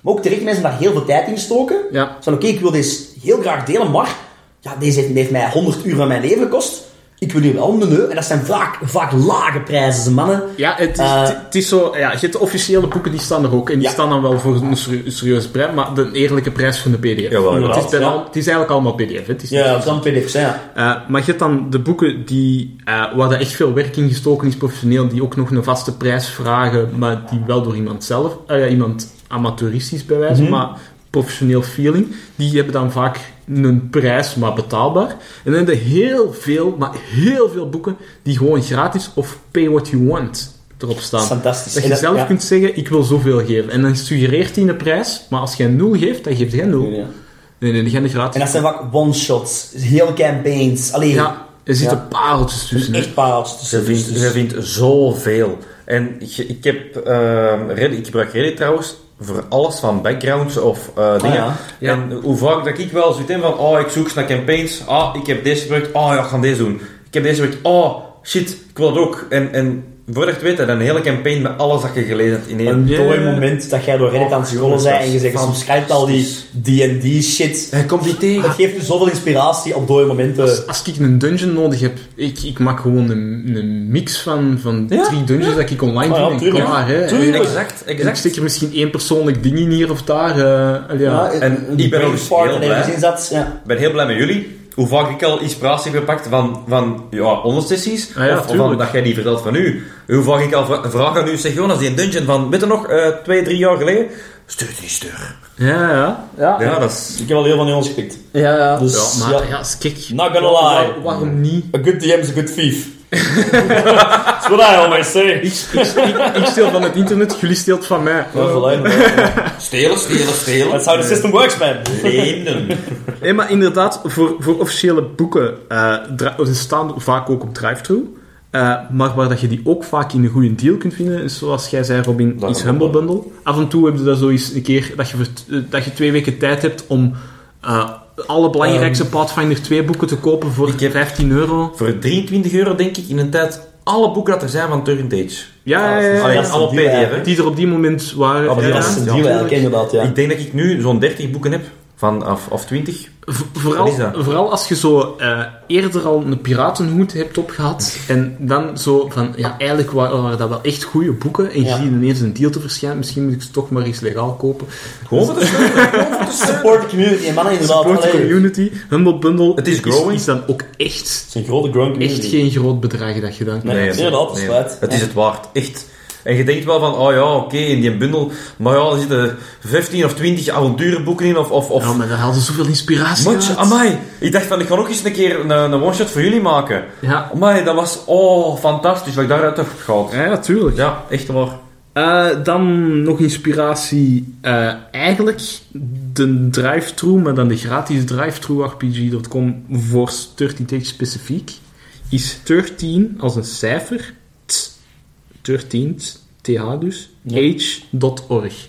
S3: Maar ook direct mensen daar heel veel tijd in stoken.
S4: Ja.
S3: Zo van, oké, ik wil deze heel graag delen, maar ja, deze heeft, heeft mij 100 uur van mijn leven gekost. Ik wil hier wel een menu. En dat zijn vaak, vaak lage prijzen, ze mannen.
S4: Ja, het is,
S3: Eh.
S4: het is zo... Ja, je hebt de officiële boeken, die staan er ook. En die
S3: Ja.
S4: staan dan wel voor een serie- serieuze prijs, maar de eerlijke prijs van de pdf.
S1: Jawel,
S4: Want het,
S3: inderdaad,
S4: is bijna
S3: ja.
S4: al- het is eigenlijk allemaal pdf. hè. Het is niet-
S3: Ja, dat zijn PDF's, hè, ja.
S4: Eh, maar je hebt dan de boeken die, eh, waar er echt veel werk in gestoken is, professioneel, die ook nog een vaste prijs vragen, maar die wel door iemand zelf, eh, ja, iemand amateuristisch bij wijze,
S3: Mhm.
S4: maar professioneel feeling, die hebben dan vaak een prijs, maar betaalbaar. En dan heb je heel veel, maar heel veel boeken die gewoon gratis of pay what you want erop
S3: Dat is
S4: staan.
S3: fantastisch.
S4: Dat
S3: En
S4: je zelf
S3: ja.
S4: kunt zeggen, ik wil zoveel geven. En dan suggereert hij een prijs, maar als jij nul geeft, dan geeft jij nul.
S3: Ja.
S4: Nee, nee, die gaan er gratis.
S3: En dat zijn vaak one-shots, heel campaigns. Alleen,
S4: Ja, er zitten
S3: Ja. Dus
S4: pareltjes tussen. hè.
S3: echt parels
S1: Ze
S3: tussen.
S1: vindt,
S3: Dus-
S1: ze vindt zoveel. En ik, ik, heb, ehm, Reddit, ik gebruik Reddit trouwens voor alles van backgrounds of eh,
S3: Ah,
S1: dingen.
S3: ja.
S4: Ja.
S1: En hoe vaak dat ik wel zoiets in van, oh, ik zoek eens naar campaigns. Ah, ik heb deze gebruikt. Ah, ja, ik ga deze doen. Ik heb deze gebruikt. Oh, shit, ik wil dat ook. En, en voordat je het weet, heb je een hele campaign met alles dat je gelezen hebt in één.
S3: Een
S4: Ja.
S3: mooi moment dat jij door
S4: Oh,
S3: Reddit aan het scrollen bent en je zegt,
S1: Fantastisch.
S3: subscribe al die D&D shit.
S1: Hij komt niet tegen.
S3: Dat geeft je zoveel inspiratie op dode momenten.
S4: Als, als ik een dungeon nodig heb, ik, ik maak gewoon een, een mix van, van
S1: Ja,
S4: drie dungeons dat ik online
S3: Ah, ja,
S4: doe en
S3: tuurlijk.
S4: klaar. Hè. En-
S1: Tuurlijk. Exact,
S4: en ik
S1: exact.
S4: stik er misschien één persoonlijk ding in hier of daar. eh, al ja.
S1: en ik ben ook heel blij.
S3: in zat. Ja.
S1: Ik ben heel blij met jullie. Hoe vaak ik al inspiratie heb gepakt van, van ja, onze sessies.
S4: Ah ja,
S1: of van
S4: tuurlijk.
S1: dat jij die vertelt van u. Hoe vaak ik al vra- vraag aan u. Zeg Jonas, die dungeon van, weet je nog, eh, twee, drie jaar geleden. Stuur die stuur.
S4: ja, ja.
S1: Ja, dat is...
S3: Ik heb al heel veel jongens gepikt.
S4: Ja, ja.
S3: Dus,
S4: maar
S3: ja.
S4: ja, als- kijk.
S3: Not gonna
S4: waar-
S3: lie.
S4: waarom niet?
S3: A good DM is a good thief. That's what I always say.
S4: Ik, ik, ik, ik steel van het internet, jullie steelt van mij.
S1: Stelen, stelen, stelen.
S3: That's how the system works, man.
S1: Leenden.
S4: Nee, maar inderdaad, voor, voor officiële boeken eh, dra- ze staan vaak ook op drive-thru. Eh, maar waar dat je die ook vaak in een goede deal kunt vinden, is zoals jij zei Robin,
S1: Dat
S4: iets
S1: kan
S4: Humble
S1: wel.
S4: Bundle. Af en toe heb je dat zo eens een keer, dat je, voor t- eh, dat je twee weken tijd hebt om eh, alle belangrijkste Pathfinder 2 boeken te kopen voor
S1: Ehm. Ik heb-
S4: 15 euro.
S1: Voor 23 euro denk ik in een tijd alle boeken dat er zijn van Turn Age.
S4: Ja, ja,
S3: Ah, dat
S4: ja,
S3: is
S4: ja,
S1: Alleen
S3: een
S1: allemaal
S3: deal Ah,
S1: PDF, hè.
S3: eigenlijk.
S4: Die er op die moment waren.
S1: Op die
S4: Ja,
S3: Dat is een
S1: Ja,
S3: deal eigenlijk,
S4: tuurlijk.
S3: inderdaad, ja.
S1: Ik denk dat ik nu zo'n 30 boeken heb. Van, of, of 20.
S4: Vo-
S1: Wat
S4: Vooral,
S1: is dat?
S4: vooral als je zo eh, eerder al een piratenhoed hebt opgehad en dan zo van, ja, eigenlijk wa- waren, dat wel echt goede boeken en je
S3: Ja.
S4: ziet ineens een deal te verschijnen, misschien moet ik ze toch maar eens legaal kopen.
S1: Gewoon voor de
S3: *laughs* Support the community, en mannen, inderdaad.
S4: Support the
S3: Allee.
S4: community, Humble Bundle,
S1: Ah, Het is
S4: is,
S1: growing.
S4: dan ook echt,
S3: Het is een grote grown community.
S4: echt geen groot bedrag dat je dan
S3: Nee, dat is inderdaad, dat is waard.
S1: Het
S3: Ja.
S1: is het waard, echt. En je denkt wel van, oh ja, oké, in die bundel, maar ja, er zitten 15 of 20 avonturenboeken in, of... of, of
S4: Ja, maar daar haalden zoveel inspiratie
S1: Much,
S4: uit.
S1: amai. Ik dacht van, ik ga nog eens een keer een, een one-shot voor jullie maken.
S4: Ja,
S1: Amai, dat was, oh, fantastisch, wat ik daaruit heb gehaald.
S4: ja, natuurlijk.
S1: Ja, echt waar.
S4: Eh, dan nog inspiratie. eh, eigenlijk de drive-thru, maar dan de gratis drive-thru RPG.com voor 13 Days specifiek. Is 13 als een cijfer. T, 13, th dus.
S3: Ja.
S4: Age.org.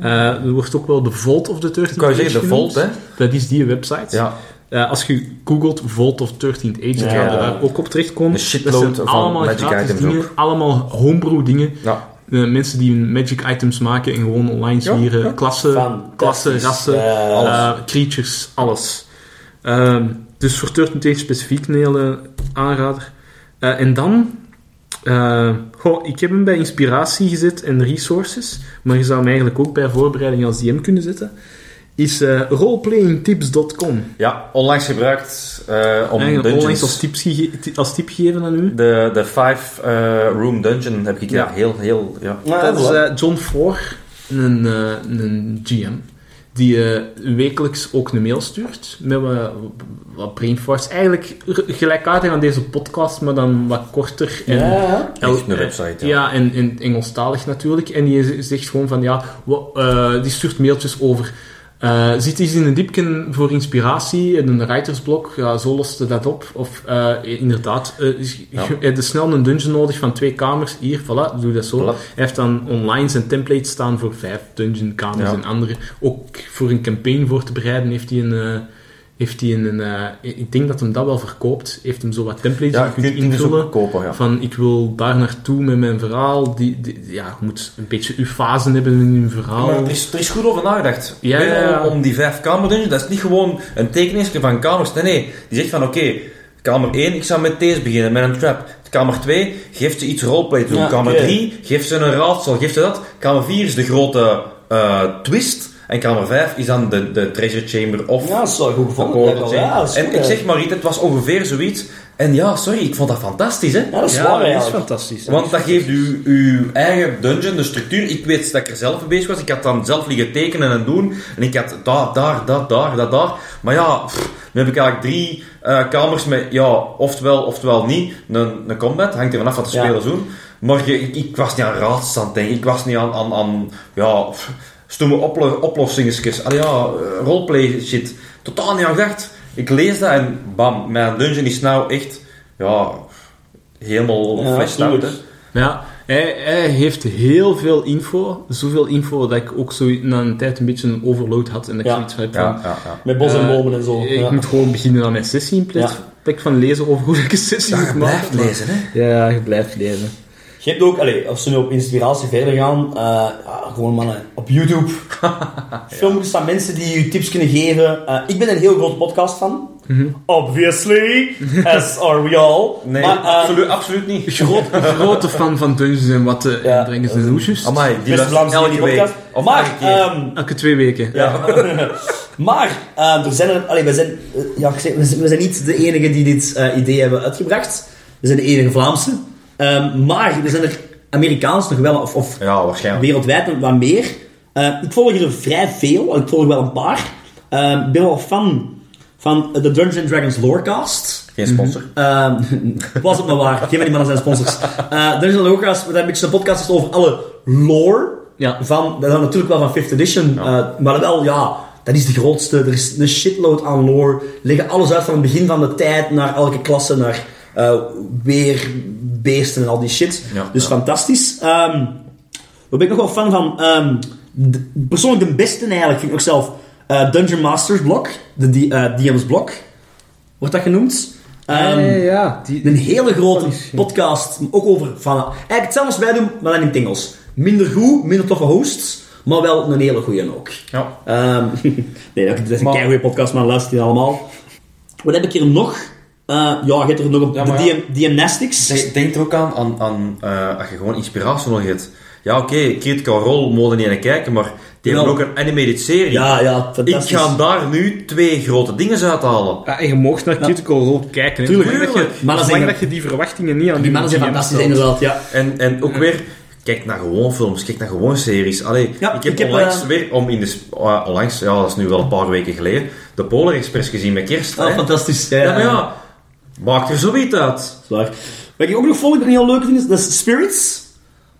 S4: Eh, er wordt ook wel de Volt of de 13
S1: Ik kan je
S4: Age
S1: zeggen, de
S4: genoemd.
S1: Volt, hè.
S4: Dat is die website.
S1: Ja.
S4: Eh, als je googelt Volt of 13th Age, dan
S3: Ja.
S4: ga je daar ook op terechtkomen.
S1: Een shitload
S4: Dat zijn
S1: van
S4: allemaal
S1: magic
S4: gratis
S1: items
S4: dingen,
S1: ook.
S4: allemaal homebrew dingen.
S1: ja.
S4: Eh, mensen die hun magic items maken en gewoon online
S1: Ja,
S4: zwieren.
S1: ja.
S4: Klassen,
S3: Fantastisch.
S4: klassen, rassen,
S3: Ja.
S4: eh, creatures, alles. Ehm, dus voor Turtle Age specifiek een hele aanrader. Eh, en dan... eh, goh, ik heb hem bij inspiratie gezet en resources, maar je zou hem eigenlijk ook bij voorbereiding als DM kunnen zetten. Is eh, roleplayingtips.com.
S1: ja, onlangs gebruikt eh, om
S4: Eigenlijk
S1: dungeons...
S4: onlangs als, tips gege- ti- als tip gegeven aan u.
S1: De, de five eh, room dungeon heb ik
S4: Ja.
S1: ja. heel, heel, ja.
S3: Ja,
S4: Dat is
S3: voilà.
S4: eh, John Floor, een, eh, een GM, die eh, wekelijks ook een mail stuurt met wat, wat brainfarts. Eigenlijk r- gelijkaardig aan deze podcast, maar dan wat korter en
S3: Ja, ja.
S4: El-
S1: Echt een website, ja.
S4: eh, Ja, en in Engelstalig natuurlijk. En die z- zegt gewoon van, ja, wa- eh, die stuurt mailtjes over. eh, zit eens in een diepken voor inspiratie, in een writersblok, ja, zo loste dat op. Of eh, inderdaad, eh, is-
S1: Ja.
S4: je hebt snel een dungeon nodig van twee kamers, hier, voilà, doe dat zo.
S1: Voilà.
S4: Hij heeft dan online zijn template staan voor vijf dungeon kamers
S1: Ja.
S4: en andere. Ook voor een campaign voor te bereiden heeft hij een... eh, heeft hij een, eh, ik denk dat hem dat wel verkoopt. Heeft hem zo wat templates
S1: Ja,
S4: die
S1: je kunt die dus
S4: invullen.
S1: ook kopen, ja.
S4: Van ik wil daar naartoe met mijn verhaal. Die, die- ja, je moet een beetje uw fasen hebben in je
S3: Oh.
S4: verhaal.
S1: Maar er is, er is goed over nagedacht.
S4: Ja,
S1: Weet je,
S4: ja, ja.
S1: Om die vijf kamerdungeons, dat is niet gewoon een tekeningsje van kamers. Nee, nee. Die zegt van, oké, Kamer 1, ik zou met deze beginnen, met een trap. Kamer 2, geeft ze iets roleplay te doen.
S3: Ja,
S1: kamer
S3: oké.
S1: 3, geeft ze een raadsel, geeft ze dat. Kamer 4 is de grote eh, twist. En kamer 5 is dan de, de treasure chamber of...
S3: Ja, dat is wel goed gevonden.
S1: Akkoord,
S3: blijkbaar.
S1: zeg.
S3: Ja, dat is
S1: en
S3: goed,
S1: ik
S3: hè.
S1: zeg maar iets, het was ongeveer zoiets. En ja, sorry, ik vond dat fantastisch, hè.
S3: Ja, dat is
S4: Ja,
S3: waar
S4: dat is
S3: eigenlijk.
S4: fantastisch.
S1: Want dat geeft u uw eigen dungeon, de structuur. Ik weet dat ik er zelf mee bezig was. Ik had dan zelf liggen tekenen en doen. En ik had daar, daar, dat, daar, dat, daar. Maar ja, pff, nu heb ik eigenlijk drie eh, kamers met, ja, oftewel, oftewel niet. Een, een combat, hangt er vanaf wat de
S3: Ja.
S1: spelers doen. Maar je- ik, ik was niet aan raadstand denken. Ik was niet aan, aan, aan ja, pff, stomme oplo oplossingen. Allee, ja, eh, roleplay shit. Totaal niet aan gedacht. Ik lees dat en bam, mijn dungeon is nou echt, ja... Helemaal
S3: Ja,
S1: fleshed out, hè.
S3: tuurlijk.
S4: Ja, hij, hij heeft heel veel info. Zoveel info dat ik ook zo na een tijd een beetje een overload had. En dat ik
S3: Ja.
S4: zoiets van heb
S1: Ja,
S4: van...
S1: ja, ja.
S3: Met bos en
S4: eh,
S3: bomen en zo.
S4: Ik
S3: Ja.
S4: moet gewoon beginnen aan mijn sessie in plaats
S3: Ja.
S4: plek van lezen over hoe ik een sessie moet maken. maar-
S1: hè?
S4: Ja, je blijft lezen.
S3: Je hebt ook, allez, als ze nu op inspiratie verder gaan, eh, ja, gewoon mannen, op
S1: *laughs*
S3: YouTube. Filmpjes staan mensen die je tips kunnen geven. Eh, ik ben een heel groot podcast van.
S1: *laughs*
S3: Obviously, as are we all.
S1: Mhm. Nee,
S3: maar, eh,
S1: absolu- absoluut niet.
S4: Groot, grote fan van Dungeons en wat eh,
S3: Ja.
S4: en Dragons en Roosjes.
S1: Amai, die
S3: beste
S1: luistert
S3: Vlaamse
S1: elke week.
S3: podcast.
S1: Of
S3: Maar,
S1: elke keer.
S3: ehm,
S4: Elke twee weken.
S3: Ja. *laughs* maar eh, er zijn er... Allee, we, zijn, eh, ja, ik zeg, we zijn- we zijn niet de enigen die dit eh, idee hebben uitgebracht. We zijn de enige Vlaamse. Ehm, maar er zijn er Amerikaans nog wel, of, of
S1: ja, waarschijnlijk.
S3: wereldwijd nog wat meer. Eh, ik volg er vrij veel, ik volg wel een paar. Eh, Ik ben wel fan van de Dungeons Dragons Lorecast.
S1: Geen sponsor.
S3: Ehm, *laughs* was het maar waar. Geef maar die mannen zijn sponsors. Eh Dungeons Lorecast, wat een beetje een podcast is over alle lore.
S4: Ja.
S3: Van, dat is natuurlijk wel van 5th edition. eh, maar wel, ja, dat is de grootste. Er is een shitload aan lore. Leggen alles uit van het begin van de tijd naar elke klasse, naar eh, weer beesten en al die shit.
S1: Ja,
S3: dus
S1: ja.
S3: fantastisch. Ehm daar ben ik nog wel fan van. Ehm, de- persoonlijk de beste eigenlijk vind ik ook zelf eh, Dungeon Masters blok. De D- eh, DM's blok. Wordt dat genoemd? Ehm,
S4: ja. Die,
S3: een hele grote
S4: Oh, die is-
S3: podcast, ook over van... Eigenlijk hetzelfde als wij doen, maar dan in het Engels. Minder goed, minder toffe hosts, maar wel een hele goeie ook.
S1: Ja. *laughs*
S3: Ehm, nee, dat is een
S1: Maar-
S3: keigoeie podcast, maar luister die allemaal. Wat heb ik hier nog? Eh, ja, je hebt er nog op
S1: Ja,
S3: de
S1: maar ja.
S3: DM, DMnastics.
S1: Zeg, Denk er ook aan, aan, aan eh, als je gewoon inspiratie nodig hebt. Ja, oké, Critical Role mogen niet naar kijken, maar die hebben
S3: Ja.
S1: ook een animated serie.
S3: Ja, ja,
S1: Ik
S3: fantastisch.
S1: ga daar nu twee grote dingen uithalen.
S4: ja, Ah, en je mocht naar Critical Role kijken. hè.
S3: Tuurlijk.
S4: Zolang dat je,
S3: Maar dat
S4: zolang
S3: zijn-
S4: dat je die verwachtingen niet aan
S3: Die mannen zijn
S4: DM's
S3: fantastisch,
S4: stelt.
S3: inderdaad, ja.
S1: En, en ook weer, kijk naar gewoon films, kijk naar gewoon series. Allee,
S3: Ja,
S1: ik heb
S3: ik heb,
S1: onlangs
S3: eh,
S1: weer, om in de, sp- eh, onlangs, ja, dat is nu wel een paar weken geleden, de Polar Express gezien met kerst.
S3: Ah,
S1: hè.
S3: fantastisch.
S1: Ja, maar *laughs* ja, maakt er zoiets uit.
S3: Zwaar. Wat ik ook nog volg, dat ik heel leuk vind, is, dat is Spirits.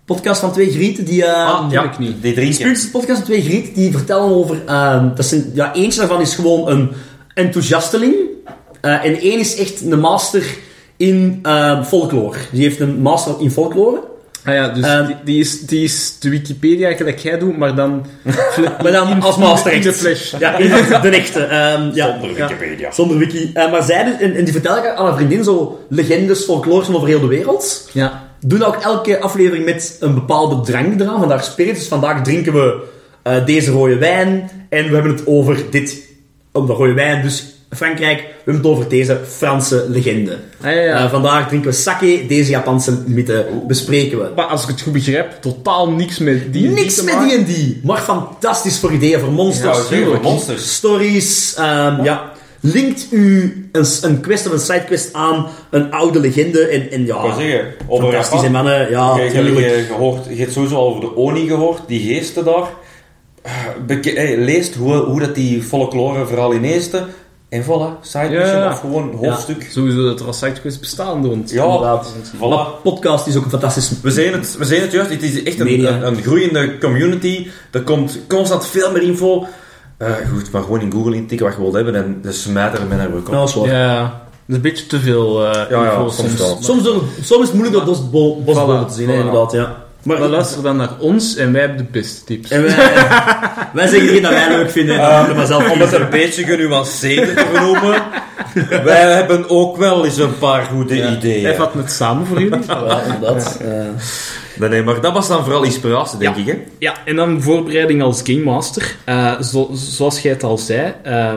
S3: Podcast van twee grieten die... eh,
S1: Ah,
S4: doe ik niet.
S1: Die drie keer.
S3: Spirits is een podcast van twee grieten die vertellen over... ehm, dat zijn, ja, eentje daarvan is gewoon een enthousiasteling. Eh, en één is echt een master in ehm, folklore. Die heeft een master in folklore.
S4: Ah ja, dus
S3: Ehm,
S4: die, die is, die is de Wikipedia gelijk jij doet, maar dan...
S3: Maar dan als master
S4: in
S3: echt.
S4: de flash.
S3: Ja, in de echte. ehm, ja. Ja.
S1: Wikipedia.
S3: Zonder wiki. Eh, maar zij, dus- en, en die vertel ik aan een vriendin, zo legendes, folklore van over heel de wereld.
S4: Ja.
S3: doen ook elke aflevering met een bepaalde drank eraan. Vandaag spirits. Dus vandaag drinken we eh, deze rode wijn. En we hebben het over dit. Om de rode wijn, dus Frankrijk. We hebben het over deze Franse legende.
S4: Ah, ja, ja.
S3: Eh, vandaag drinken we sake. Deze Japanse mythe bespreken we.
S4: Maar als ik het goed begrijp, totaal niks met die
S3: Niks met D&D. Maar fantastisch voor ideeën, voor monsters.
S1: Ja, tuurlijk. Voor monsters.
S3: Stories. ehm, ja. Linkt u een, een quest of een sidequest aan een oude legende. En, en ja,
S1: Ik wou zeggen, over
S3: fantastische
S1: Japan.
S3: mannen. Ja,
S1: je, je,
S3: tuurlijk.
S1: je gehoord, je hebt sowieso al over de Oni gehoord, die geesten daar. Beke- hey, leest hoe, hoe dat die folklore vooral in eerste. En voilà, side
S4: Ja.
S1: mission of gewoon hoofdstuk.
S4: Sowieso dat er al sidequests bestaan rond.
S1: Ja,
S3: inderdaad.
S1: voilà.
S3: podcast is ook een fantastisch...
S1: We zijn, het, we zijn het juist, het is echt een,
S3: Media.
S1: een, een groeiende community. Er komt constant veel meer info. Eh, goed, maar gewoon in Google intikken wat je wilt hebben en de smijter met naar
S3: Nou, dat is waar.
S4: Ja, dat is een beetje te veel eh
S1: Ja, ja,
S4: info
S1: soms wel.
S3: Soms, door- soms is het moeilijk dat bos, bo- bosbomen
S4: Voilà,
S3: te zien,
S4: voilà.
S3: hè, inderdaad. Ja.
S4: Maar dan luister dan naar ons en wij hebben de beste tips.
S3: En wij, wij zeggen niet dat wij leuk vinden. dat
S1: Ah.
S3: moeten we maar zelf
S1: Om het een beetje genuanceerder te
S4: *laughs*
S1: noemen. Wij hebben ook wel eens een paar goede ideeën.
S4: Hij vat het samen voor jullie.
S3: Ja, inderdaad. Eh,
S1: Nee, nee, maar dat was dan vooral inspiratie, denk
S4: Ja.
S1: ik. Hè?
S4: ja, en dan voorbereiding als Game Master. Eh, zo- zoals jij het al zei, eh,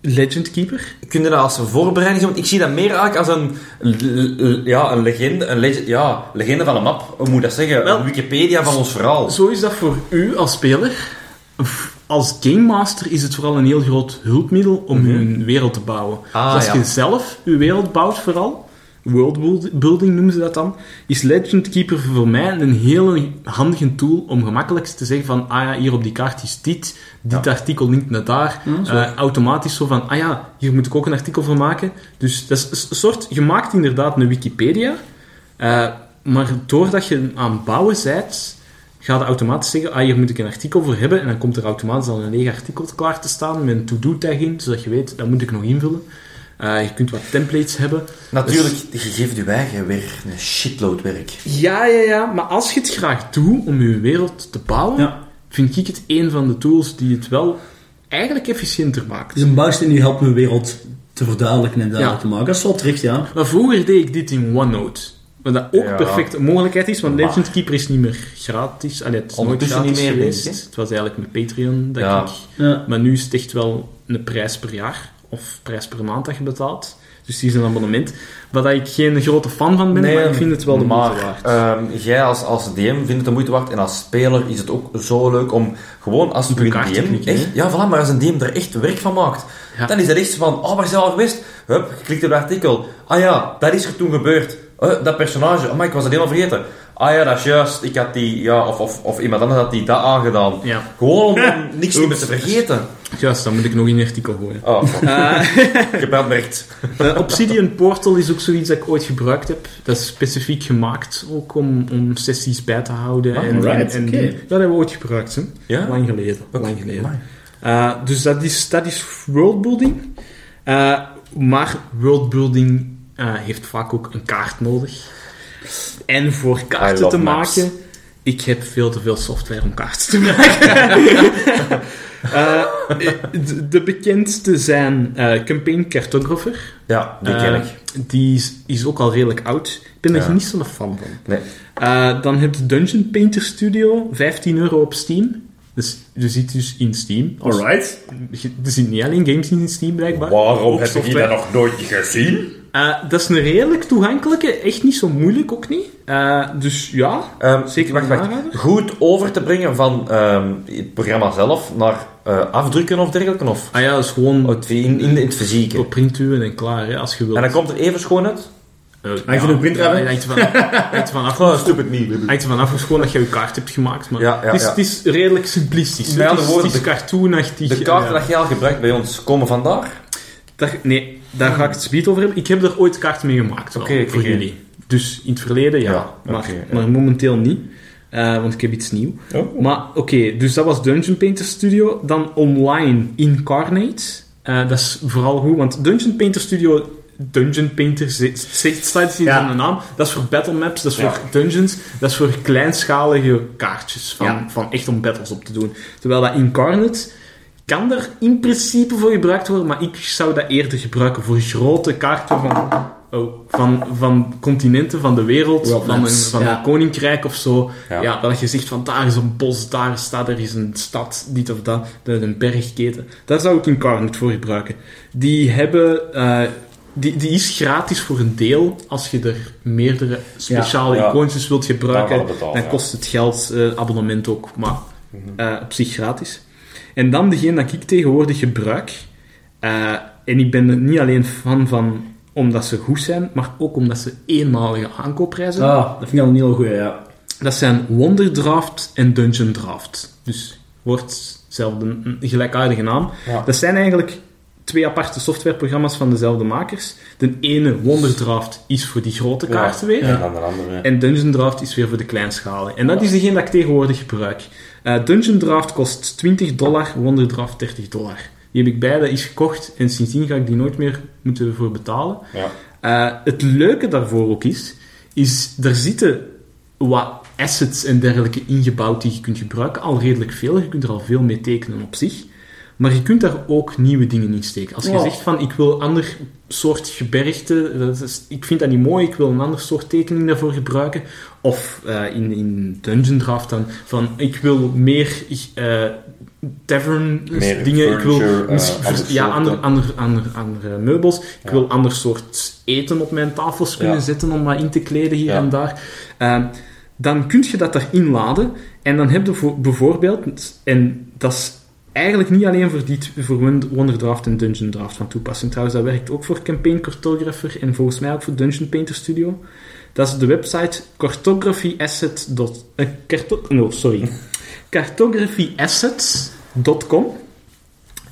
S4: Legend Keeper?
S1: Kun je dat als voorbereiding zien? Want ik zie dat meer eigenlijk als een, l- l- ja, een, legende, een legend, ja, legende van een map. Hoe moet ik dat zeggen?
S4: Wel- Dus-
S1: een Wikipedia van ons verhaal.
S4: Zo is dat voor u als speler. F- Als game master is het vooral een heel groot hulpmiddel om uw wereld te bouwen.
S1: Mhm. Ah,
S4: Dus als
S1: ja.
S4: je zelf uw wereld bouwt vooral, worldbuilding noemen ze dat dan, is Legend Keeper voor mij een heel handige tool om gemakkelijk te zeggen van, ah ja, hier op die kaart is dit, dit artikel linkt naar daar.
S1: Mhm.
S4: Eh, automatisch zo van, ah ja, hier moet ik ook een artikel van maken. Dus dat is een soort, je maakt inderdaad een Wikipedia, eh, maar doordat je aan het bouwen bent, ga je automatisch zeggen, ah, hier moet ik een artikel voor hebben. En dan komt er automatisch al een leeg artikel klaar te staan met een to-do-tag in, zodat je weet, dat moet ik nog invullen. Eh, je kunt wat templates hebben.
S1: Natuurlijk, je geeft je eigen weer een shitload werk.
S4: Dus, Ja, ja, ja. Maar als je het graag doet om je wereld te bouwen,
S5: Ja.
S4: vind ik het een van de tools die het wel eigenlijk efficiënter maakt.
S5: Dus een bouwsteen die helpt mijn wereld te verduidelijken en duidelijk
S4: Ja.
S5: te maken. Dat is wel terecht, ja.
S4: Maar vroeger deed ik dit in OneNote. Wat dat ook
S1: Ja.
S4: perfect een mogelijkheid is, want
S1: Maar-
S4: Legend Keeper is niet meer gratis. Allee, het is nooit
S1: Ondertussen
S4: gratis
S1: niet meer,
S4: geweest.
S1: denk ik, hè?
S4: Het was eigenlijk met Patreon dat
S1: Ja.
S4: ik...
S5: ja.
S4: Maar nu is het echt wel een prijs per jaar of prijs per maand dat je betaalt. Dus die is een abonnement. Waar dat ik geen grote fan van ben, maar ik vind het wel de
S1: ehm, maar,
S4: moeite waard.
S1: ehm, jij als, als DM vindt het de moeite waard. En als speler is het ook zo leuk om gewoon als je
S4: elkaar
S1: een
S4: te
S1: DM...
S4: klikken, hè?
S1: Echt, ja, voilà, maar als een DM er echt werk van maakt,
S4: Ja.
S1: dan is dat echt zo van... Oh, waar zijn we al geweest? Hup, je klikt op het artikel. Ah ja, dat is er toen gebeurd. Eh, dat personage. Oh, maar ik was dat helemaal vergeten. Ah ja, dat is juist. Ik had die... Ja, of, of, of iemand anders had die dat aangedaan.
S4: Ja,
S1: Gewoon om niks meer te vergeten.
S4: juist, dan moet ik nog in een artikel gooien.
S1: Oh, fuck.
S4: *laughs*
S1: gebrandmerkt.
S4: Eh, Obsidian Portal is ook zoiets dat ik ooit gebruikt heb. Dat is specifiek gemaakt ook om, om sessies bij te houden. en,
S5: alright,
S4: en, en-
S5: oké.
S4: Ja, dat hebben we ooit gebruikt. Hè?
S1: Ah, Ja?
S4: Lang geleden.
S1: Oké,
S4: Lang geleden.
S1: amai.
S4: Eh, dus dat is, dat is worldbuilding. Eh, maar worldbuilding eh, heeft vaak ook een kaart nodig. En voor kaarten
S1: love
S4: te
S1: maps.
S4: maken, ik heb veel te veel software om kaarten te *laughs* maken. Eh, de, de bekendste zijn eh, Campaign Cartographer.
S1: Ja, die ken
S4: Eh,
S1: ik.
S4: Die is, is ook al redelijk oud. Ik ben
S1: Ja.
S4: er niet zo'n fan van.
S1: Nee.
S4: Eh, dan heb je Dungeon Painter Studio, 15 euro op Steam. Dus je zit dus in Steam. Als-
S5: Alright.
S4: je- Er zitten niet alleen games in Steam blijkbaar.
S1: Waarom
S4: Ook
S1: heb ik die
S4: software.
S1: dat nog nooit gezien?
S4: Eh, dat is een redelijk toegankelijke, echt niet zo moeilijk ook niet. Eh, dus ja,
S1: Ehm,
S4: Zeker
S1: wacht,
S4: een
S1: wacht.
S4: aanrader?
S1: Goed over te brengen van ehm, het programma zelf naar eh, afdrukken of dergelijke? Of
S4: ah ja, dat is gewoon
S1: Oh, het- in, in het fysieke?
S4: op printuwen en klaar, hè, als je wilt.
S1: En dat komt er even schoon uit?
S4: Eh,
S5: Hangt je de printer
S4: ja,
S5: af, hè?
S4: hangt ervan af- hangt ervan af-
S1: Oh, stupid me.
S4: hangt ervan af, het is gewoon dat je je kaart hebt gemaakt. Maar
S1: Ja, ja,
S4: het, is,
S1: ja.
S4: het is redelijk simplistisch. hè.
S1: Met
S4: Het
S1: andere
S4: is,
S1: woorden,
S4: het is cartoonachtig.
S1: De
S4: eh,
S1: kaarten dat jij al gebruikt bij ons komen vandaar?
S4: Daar, nee, daar ga ik het speed over hebben. Ik heb er ooit kaarten mee gemaakt, wel,
S1: Oké, oké,
S4: voor
S1: oké.
S4: jullie. Dus in het verleden, ja.
S1: Ja,
S4: maar,
S1: oké, ja.
S4: maar momenteel niet, eh, want ik heb iets nieuw.
S1: Oh.
S4: Maar oké, dus dat was Dungeon Painter Studio. Dan online Incarnate. Eh, dat is vooral goed, want Dungeon Painter Studio... Dungeon Painter zit- zit- staat hier
S5: Ja.
S4: in de naam. Dat is voor battle maps, dat is
S5: Ja.
S4: voor dungeons, dat is voor kleinschalige kaartjes. Van,
S5: Ja.
S4: van echt om battles op te doen. Terwijl dat Incarnate kan er in principe voor gebruikt worden, maar ik zou dat eerder gebruiken voor grote kaarten van, oh, van, van continenten, van de wereld,
S5: World
S4: van, een,
S5: maps,
S4: van
S5: ja.
S4: een koninkrijk of zo.
S1: Ja.
S4: Ja. dat je zegt van daar is een bos, daar staat er is een stad, dit of dat, dat is een bergketen. Daar zou ik Incarnate voor gebruiken. Die hebben... eh, die, die is gratis voor een deel als je er meerdere speciale
S1: Ja.
S4: icoontjes wilt gebruiken.
S1: Daarvoor betaald, ja.
S4: dan
S1: Mhm.
S4: kost het geld, eh, abonnement ook, maar eh, op zich gratis. En dan degene dat ik tegenwoordig gebruik. eh, en ik ben er niet alleen fan van omdat ze goed zijn, maar ook omdat ze eenmalige aankoopprijzen hebben.
S5: Ah, dat vind ik al een heel goeie, ja.
S4: Dat zijn Wonder Draft en Dungeon Draft. Dus wordt zelfde, een gelijkaardige naam.
S1: Ja.
S4: Dat zijn eigenlijk twee aparte softwareprogramma's van dezelfde makers. De ene, Wonder Draft, is voor die grote kaarten weer.
S1: En dan de andere.
S4: En Dungeon Draft is weer voor de kleinschalen. En dat is degene dat ik tegenwoordig gebruik. Eh, Dungeon Draft kost 20 dollar, Wonder Draft 30 dollar. Die heb ik beide eens gekocht en sindsdien ga ik die nooit meer moeten voor betalen.
S1: Ja.
S4: Eh, het leuke daarvoor ook is, is er zitten wat assets en dergelijke ingebouwd die je kunt gebruiken. Al redelijk veel, je kunt er al veel mee tekenen op zich. Maar je kunt daar ook nieuwe dingen in steken. Als je
S5: Ja.
S4: zegt van, ik wil ander soort gebergte, dat is, ik vind dat niet mooi, ik wil een ander soort tekening daarvoor gebruiken. Of eh, in, in Dungeon Draft dan, van, ik wil meer eh, tavern
S1: Meer
S4: dingen. Ik wil
S1: furniture, eh,
S4: misschien-
S1: ander
S4: ja,
S1: soort,
S4: ander,
S1: eh.
S4: ander, ander, andere meubels. Ik
S1: Ja.
S4: wil ander soort eten op mijn tafels kunnen
S1: Ja.
S4: zetten om wat in te kleden hier
S1: Ja.
S4: en daar. Ehm, dan kun je dat erin laden. En dan heb je voor- bijvoorbeeld, en dat is eigenlijk niet alleen voor, die, t- voor Won- Wonderdraft en Dungeon Draft van toepassing. Trouwens, dat werkt ook voor Campaign Cartographer en volgens mij ook voor Dungeon Painter Studio. Dat is de website cartographyasset. dot- eh, carto- no, sorry. cartographyassets.com.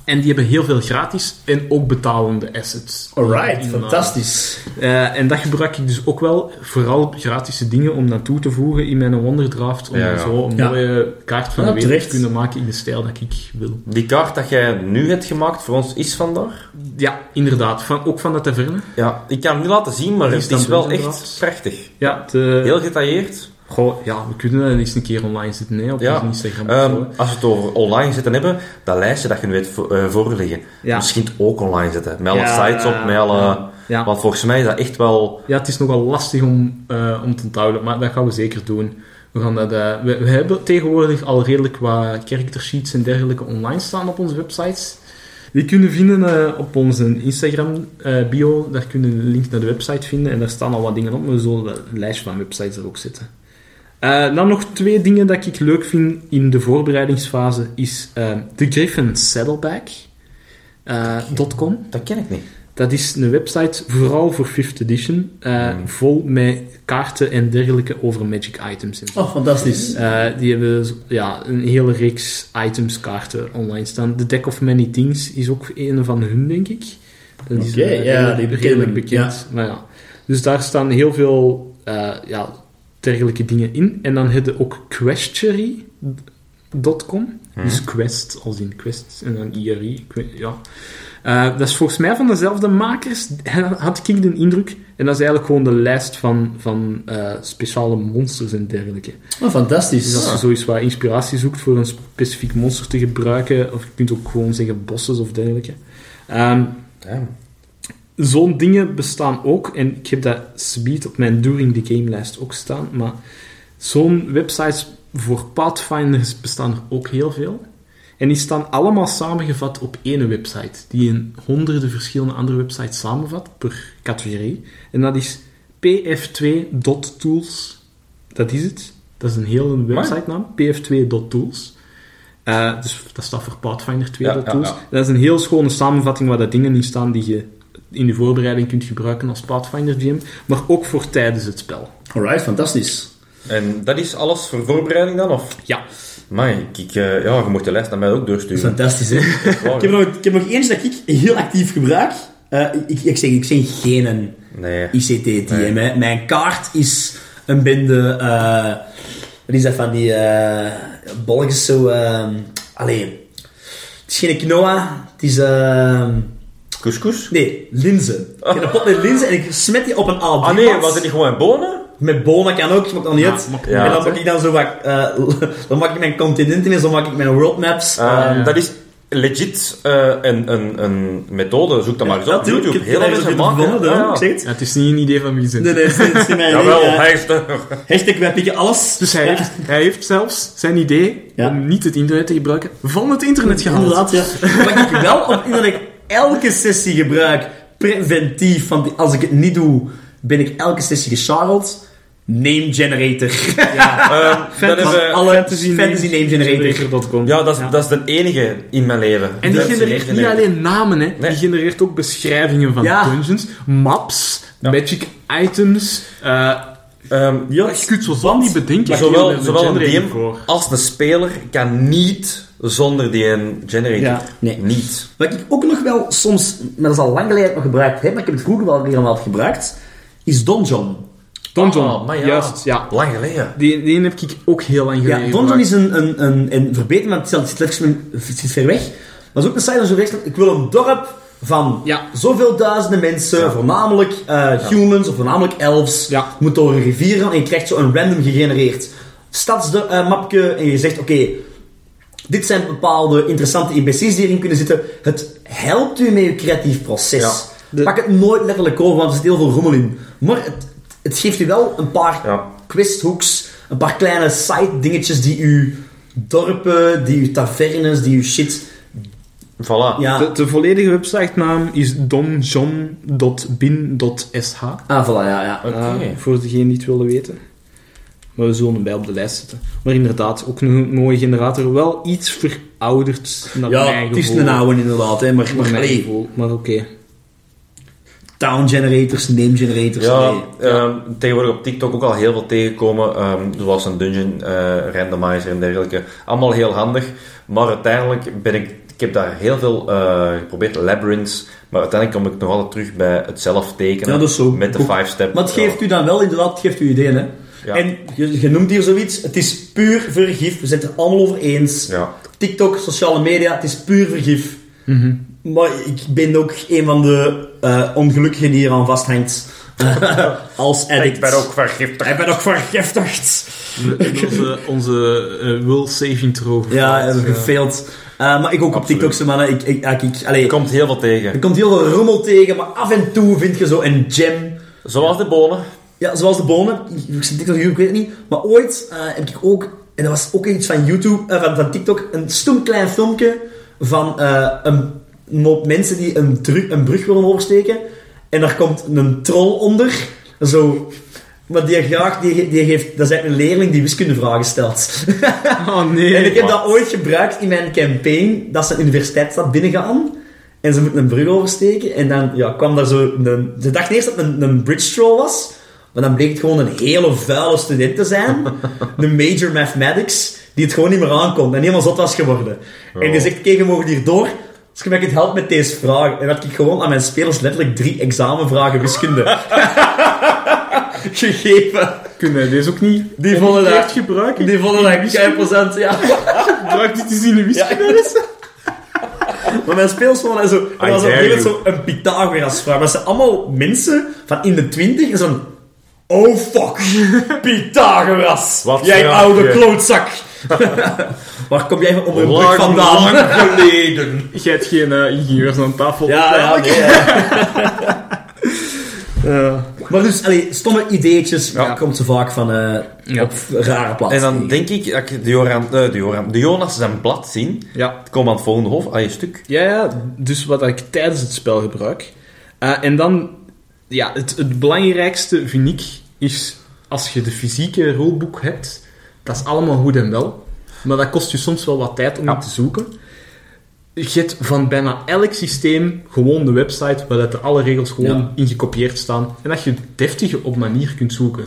S4: En die hebben heel veel gratis en ook betalende assets.
S3: Alright,
S4: In, eh,
S3: fantastisch.
S4: eh, en dat gebruik ik dus ook wel, vooral gratis dingen, om naartoe te voegen in mijn Wonderdraft. Om
S1: Ja, ja.
S4: zo een
S3: Ja.
S4: mooie kaart van
S3: Ja,
S4: de wereld
S3: terecht.
S4: te kunnen maken in de stijl dat ik wil.
S1: Die kaart dat jij nu hebt gemaakt voor ons is vandaar.
S4: Ja, inderdaad. Van, ook van de taverne.
S1: Ja, ik kan hem niet laten zien, maar
S4: Die
S1: het
S4: staan
S1: is wel
S4: dus
S1: echt
S4: inderdaad.
S1: prachtig.
S4: Ja, de-
S1: Heel gedetailleerd.
S4: Goh, ja, we kunnen dat eens een keer online zetten hè, op
S1: Ja.
S4: ons Instagram. of
S1: Ehm,
S4: zo, hè.
S1: als we het over online zetten hebben, dat lijstje dat je nu hebt vo- eh, voorliggen,
S4: Ja.
S1: misschien het ook online zetten. Met alle
S4: Ja.
S1: sites op, met alle...
S4: ja.
S1: Want volgens mij is dat echt wel...
S4: Ja, het is nogal lastig om, eh, om te onthouden, maar dat gaan we zeker doen. We, gaan dat, eh, we, we hebben tegenwoordig al redelijk wat character sheets en dergelijke online staan op onze websites. Die kunnen vinden eh, op onze Instagram-bio. daar kunnen we een link naar de website vinden en daar staan al wat dingen op, maar we zullen wel een lijst van websites er ook zetten. Eh, dan nog twee dingen dat ik leuk vind in de voorbereidingsfase is eh, de Griffin Saddleback. eh, dot .com.
S1: Dat ken ik niet.
S4: Dat is een website vooral voor 5th edition, eh, vol met kaarten en dergelijke over magic items. En zo.
S3: Oh, fantastisch.
S4: Eh, die hebben zo- ja, een hele reeks items kaarten online staan. The Deck of Many Things is ook een van hun, denk ik. Dat is
S3: Oké,
S4: eh,
S3: ja,
S4: redelijk-
S3: die bekende,
S4: redelijk bekend. Maar ja. Dus daar staan heel veel eh, ja, dergelijke dingen in. En dan hebben we ook questionary.com. Dus quest, als in quest. En dan IRI. ik weet- Ja. Eh, dat is volgens mij van dezelfde makers, *laughs* had ik de indruk. En dat is eigenlijk gewoon de lijst van, van eh, speciale monsters en dergelijke.
S3: Oh, fantastisch.
S4: Dus als je zoiets waar inspiratie zoekt voor een specifiek monster te gebruiken, of je kunt ook gewoon zeggen bosses of dergelijke. Ehm,
S1: Damn.
S4: Zo'n dingen bestaan ook, en ik heb dat speed op mijn During the Game lijst ook staan, maar zo'n websites voor Pathfinders bestaan er ook heel veel. En die staan allemaal samengevat op één website, die in honderden verschillende andere websites samenvat, per categorie. En dat is pf2.tools. Dat is het. Dat is een hele website naam, pf2.tools. Eh, dus dat staat voor Pathfinder 2.tools.
S1: Ja, ja, ja.
S4: Dat is een heel schone samenvatting waar dat dingen in staan die je in je voorbereiding kunt gebruiken als Pathfinder GM, maar ook voor tijdens het spel.
S3: Alright, fantastisch.
S1: En dat is alles voor voorbereiding dan, of?
S4: Ja.
S1: Maar ik, eh, ja, je mocht de lijst naar mij ook
S3: *laughs*
S1: doorsturen.
S3: Fantastisch, hè?
S6: Ik heb, nog, ik heb nog eentje dat ik heel actief gebruik. Eh, ik, ik, zeg, ik zeg geen
S1: Nee.
S3: ICT-DM, hè. Mijn kaart is een bende... eh wat is dat van die eh bolletjes zo... ehm allee. Het is geen quinoa. Het is... ehm
S1: Couscous?
S3: nee, linzen. Ik heb een pot met linzen en ik smet die op een a
S1: Ah nee, was het niet gewoon bonen?
S3: Met bonen kan ook, maakt dan niet uit.
S4: maakt
S1: niet
S3: en
S1: uit,
S3: dan maak ik dan zo wat... eh, *laughs* dan maak ik mijn continenten en zo maak ik mijn worldmaps.
S1: Ehm,
S3: eh,
S1: Dat is legit eh, een, een, een methode. Zoek dat maar eens op
S3: natuurlijk.
S1: YouTube.
S3: Ik
S1: Heel
S3: heb
S1: veel
S3: daar
S1: mensen
S3: zo'n
S1: maken.
S3: gevonden,
S1: Ja,
S3: hoor.
S1: ja.
S3: Ik zeg het.
S4: Ja, het is niet een idee van wie ze
S3: Nee, nee, het is- het is mijn
S1: Jawel,
S3: idee, eh,
S1: hij is er.
S3: Hashtag wij pikken alles.
S4: Dus hij,
S3: Ja.
S4: heeft, hij heeft zelfs zijn idee
S3: Ja.
S4: om niet het internet te gebruiken, van het internet gehaald.
S3: Inderdaad, ja. Wat ik wel op internet elke sessie gebruik, preventief, want als ik het niet doe, ben ik elke sessie gecharreld. Name generator.
S1: *laughs*
S3: *laughs*
S1: Ehm, dat is,
S3: Van
S1: eh,
S3: alle fantasy, name generator.
S4: Generator.com.
S1: ja, dat is, dat is de enige in mijn leven.
S4: En die
S1: Dat is de
S4: genereert niet
S1: enige.
S4: alleen namen, hè.
S1: Nee.
S4: die genereert ook beschrijvingen van
S3: Ja.
S4: dungeons, maps, magic items. eh
S1: Ehm,
S4: ja, je kunt zo van die bedenken.
S1: zowel,
S4: Hier met
S1: zowel een
S4: generator
S1: DM
S4: voor.
S1: als een speler kan niet zonder die een generator.
S3: Ja, nee.
S1: Niet.
S3: Wat ik ook nog wel soms, maar dat is al lang geleden nog gebruikt heb, maar ik heb het vroeger wel helemaal gebruikt, is Donjon.
S4: Donjon,
S1: Ah, maar ja.
S4: juist, ja.
S1: Lang geleden.
S4: Die, die heb ik ook heel lang geleden
S3: Ja, Donjon
S4: gebruikt.
S3: is een, een, een, een verbeter, maar het zit- het zit, het zit ver weg. Maar het is ook een site dat zo rechts ik wil een dorp van
S4: Ja.
S3: zoveel duizenden mensen, voornamelijk eh, humans of voornamelijk elves.
S4: Ja.
S3: Je moet door een rivier gaan en je krijgt zo een random gegenereerd stadsmapje en je zegt, oké, dit zijn bepaalde interessante NPC's die erin kunnen zitten. Het helpt u met uw creatief proces.
S1: Ja.
S4: De-
S3: Pak het nooit letterlijk over, want er zit heel veel rommel in. Maar het, het geeft u wel een paar
S1: Ja.
S3: quizhooks, een paar kleine side dingetjes die u dorpen, die uw tavernes, die uw shit.
S1: Voilà.
S3: Ja,
S4: De, de volledige websitenaam is donjon.bin.sh.
S3: ah, voilà, ja, ja.
S1: Oké.
S4: Eh, voor degene die het willen weten. Maar we zullen hem bij op de lijst zetten. Maar inderdaad, ook een mooie generator. Wel iets verouderd naar
S3: Ja,
S4: mijn
S3: het is
S4: gevoel.
S3: een oude inderdaad, hè, maar, maar
S4: Naar mijn
S3: allee,
S4: gevoel. Maar oké.
S3: town generators, name generators,
S1: Ja,
S3: allee.
S1: ehm, tegenwoordig op TikTok ook al heel veel tegenkomen, ehm, zoals een dungeon eh, randomizer en dergelijke. Allemaal heel handig, maar uiteindelijk ben ik, ik heb daar heel veel eh, geprobeerd, labyrinths, maar uiteindelijk kom ik nog altijd terug bij het zelf tekenen
S3: Ja, dat is zo.
S1: met de
S3: Ook.
S1: 5-step.
S3: Maar het geeft u dan wel inderdaad, het geeft u ideeën, hè.
S1: Ja.
S3: En je, je noemt hier zoiets, het is puur vergif, we zijn het er allemaal over eens.
S1: Ja.
S3: TikTok, sociale media, het is puur vergif. Mhm. Maar ik ben ook een van de eh, ongelukkigen die hier aan *laughs* vasthangt. Als addict.
S1: vergiftigd.
S3: Ik ben ook vergiftigd.
S4: Onze, onze eh, will save intro.
S3: Ja, ik heb gefaild. Eh, maar ik ook op
S1: Absoluut.
S3: TikTok, zo mannen. Ik, ik, ik, ik- allee,
S1: Je komt heel veel
S3: er
S1: tegen.
S3: komt heel veel rommel tegen, maar af en toe vind je zo een gem.
S1: Zoals de bonen.
S3: Ja, zoals de bonen. Ik zit TikTok, ik weet het niet. Maar ooit eh, heb ik ook, en dat was ook iets van YouTube, eh, van, van TikTok, een stom klein filmpje van eh, een mop mensen die een, dru- een brug willen oversteken. En daar komt een troll onder. Zo. Maar die graag, die, ge- die geeft, dat is eigenlijk een leerling die wiskundevragen stelt.
S4: *laughs* Oh nee.
S3: En ik heb dat ooit gebruikt in mijn campaign, dat ze een universiteitsstad binnengaan. En ze moeten een brug oversteken. En dan ja, kwam daar zo een... Ze dachten eerst dat het een, een bridge troll was. Maar dan bleek het gewoon een hele vuile student te *laughs* zijn. De major mathematics. Die het gewoon niet meer aankomt. En helemaal zot was geworden. En die zegt, kijk, we mogen hier door. Dus Als je mij kunt helpen met deze vraag. En had ik gewoon aan mijn spelers letterlijk drie examenvragen *laughs* wiskunde gegeven.
S4: Kunnen deze ook niet
S3: Die vonden
S4: omgekeerd
S3: dat-
S4: gebruiken?
S3: Die vonden dat kei plezant, ja.
S4: Gebruik dit eens in de *laughs*
S3: Ja,
S4: wiskunde.
S3: ik weet *laughs* het. Maar mijn speelsman en zo. En
S1: I
S3: dat was op een
S1: dare
S3: gegeven moment
S1: you.
S3: zo een Pythagoras-vraag. Maar ze zijn allemaal mensen van in de twintig en zo'n... Oh fuck, Pythagoras.
S1: Wat
S3: jij
S1: vraag
S3: oude
S1: je.
S3: klootzak. *laughs* Waar kom jij onder een brug vandaan?
S1: geleden.
S4: Jij hebt geen eh, ingenieurs aan tafel.
S3: Ja, ja, nee, ja. Maar dus, allee, stomme ideetjes.
S1: Ja.
S3: Ja. Komt ze vaak van eh,
S4: Ja.
S3: op rare plaatsen.
S1: En dan denk ik dat ik de, Joran, eh, de, Joran, de Jonas zijn blad zien.
S4: ja.
S1: Het komt aan het volgende hoofd, aan je stuk.
S4: Ja, ja, dus wat ik tijdens het spel gebruik. Eh, en dan, ja, het, het belangrijkste vind ik, is als je de fysieke rulebook hebt, dat is allemaal goed en wel. Maar dat kost je soms wel wat tijd om het te zoeken. Je hebt van bijna elk systeem gewoon de website waar dat de alle regels gewoon
S3: Ja.
S4: in gekopieerd staan. En dat je deftig op manier kunt zoeken.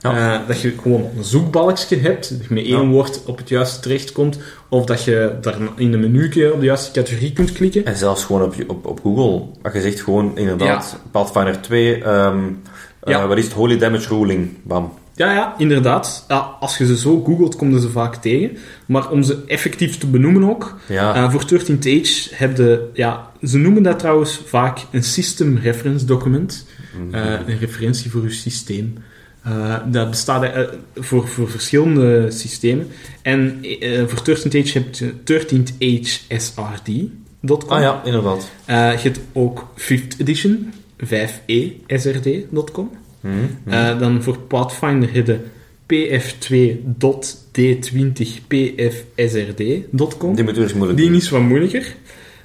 S1: Ja.
S4: Eh, dat je gewoon een zoekbalkje hebt, dat je met één
S1: Ja.
S4: woord op het juiste terecht komt, of dat je daar in een menu op de juiste categorie kunt klikken.
S1: En zelfs gewoon op, je- op, op Google. Als je zegt gewoon inderdaad Pathfinder 2, ehm, eh,
S4: Ja.
S1: wat is het? Holy Damage Ruling. Bam.
S4: Ja, ja, inderdaad. Ja, als je ze zo googelt, komen ze vaak tegen. Maar om ze effectief te benoemen ook,
S1: Ja.
S4: eh, voor 13th Age heb je... Ja, ze noemen dat trouwens vaak een system reference document.
S1: Mhm.
S4: Eh, een referentie voor je systeem. Eh, dat bestaat eh, voor, voor verschillende systemen. En eh, voor 13th Age heb je 13th Age SRD.com.
S1: ah ja, inderdaad.
S4: Eh, je hebt ook 5th edition, e 5esrd.com.
S1: Hm.
S4: Eh, dan voor Pathfinder heb je pf2.d20pfsrd.com.
S1: Die moet dus moeilijk
S4: Die
S1: doen.
S4: is wat moeilijker.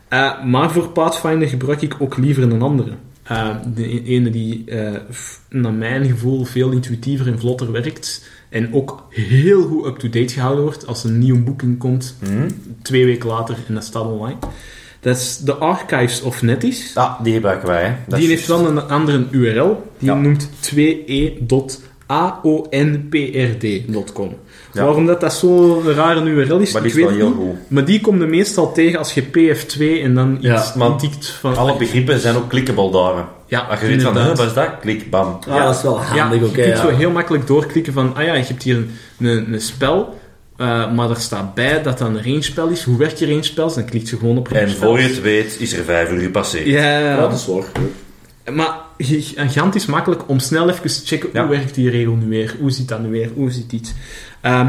S4: Eh, maar voor Pathfinder gebruik ik ook liever een andere. Eh, de e- ene die eh, f- naar mijn gevoel veel intuïtiever en vlotter werkt. En ook heel goed up-to-date gehouden wordt. Als een nieuw boeking komt,
S1: Hm.
S4: twee weken later en dat staat online. Dat is de Archives of Netis.
S1: Ah, die gebruiken wij. Hè. Dat
S4: Die
S1: is
S4: heeft wel een andere URL. Die noemt E 2e.aonprd.com.
S1: Ja.
S4: Waarom dat, dat zo'n rare URL is,
S1: Maar die
S4: ik
S1: is
S4: weet
S1: wel heel
S4: het niet.
S1: goed.
S4: Maar die komt meestal tegen als je PF2 en dan iets
S1: maar
S4: tikt van...
S1: Alle begrippen zijn ook clickable daar.
S4: Ja,
S1: Als je ziet van, hè,
S4: inderdaad.
S1: wat is dat? Klik, bam.
S3: Ah, dat is wel
S4: Ja,
S3: handig,
S4: je
S3: oké.
S4: kunt
S3: ja.
S4: zo heel makkelijk doorklikken van... Ah ja, je hebt hier een, een, een spel... eh, maar er staat bij dat dat een rangespel is. Hoe werkt je rangespels? Dan klikt je gewoon op
S1: En
S4: rangespels.
S1: voor je het weet, is er vijf uur gepasseerd.
S4: Ja,
S3: Ja, dat is waar.
S4: Maar gi- gigantisch makkelijk om snel even te checken
S1: Ja.
S4: hoe werkt die regel nu weer, hoe zit dat nu weer, hoe zit dit. Ehm,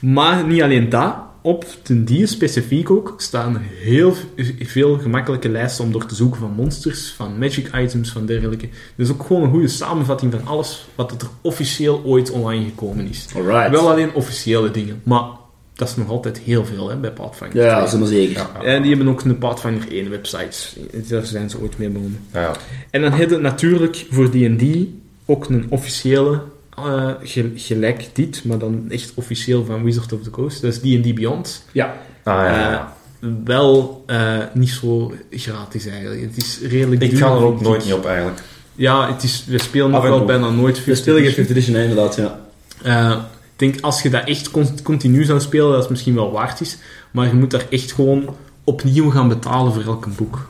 S4: maar niet alleen dat, op ten die specifiek ook staan heel v- veel gemakkelijke lijsten om door te zoeken van monsters, van magic items, van dergelijke. Dus ook gewoon een goede samenvatting van alles wat er officieel ooit online gekomen is.
S3: Alright.
S4: Wel alleen officiële dingen, maar dat is nog altijd heel veel hè, bij Pathfinder.
S5: Ja,
S4: twee.
S5: zeg maar zeker.
S4: En die hebben ook een Pathfinder 1 website. Daar zijn ze ooit mee begonnen.
S1: Ja, Ah, ja.
S4: En dan heb je natuurlijk voor D&D ook een officiële, eh, ge- gelijk dit, maar dan echt officieel van Wizard of the Coast. Dat is D&D Beyond.
S1: Ah, ja, ja, ja.
S4: Wel eh, niet zo gratis eigenlijk. Het is redelijk
S1: Ik
S4: duur,
S1: ga er ook
S4: vind
S1: nooit
S4: ik.
S1: niet op, eigenlijk.
S4: Ja, het is, we spelen
S1: Af
S4: nog
S1: en
S4: wel
S1: toe.
S4: bijna nooit
S5: We
S4: 50
S5: spelen geen 5th edition, hè, inderdaad, ja.
S4: Eh, ik denk als je dat echt con- continu zou spelen, dat is misschien wel waard is. Maar je moet daar echt gewoon opnieuw gaan betalen voor elk boek.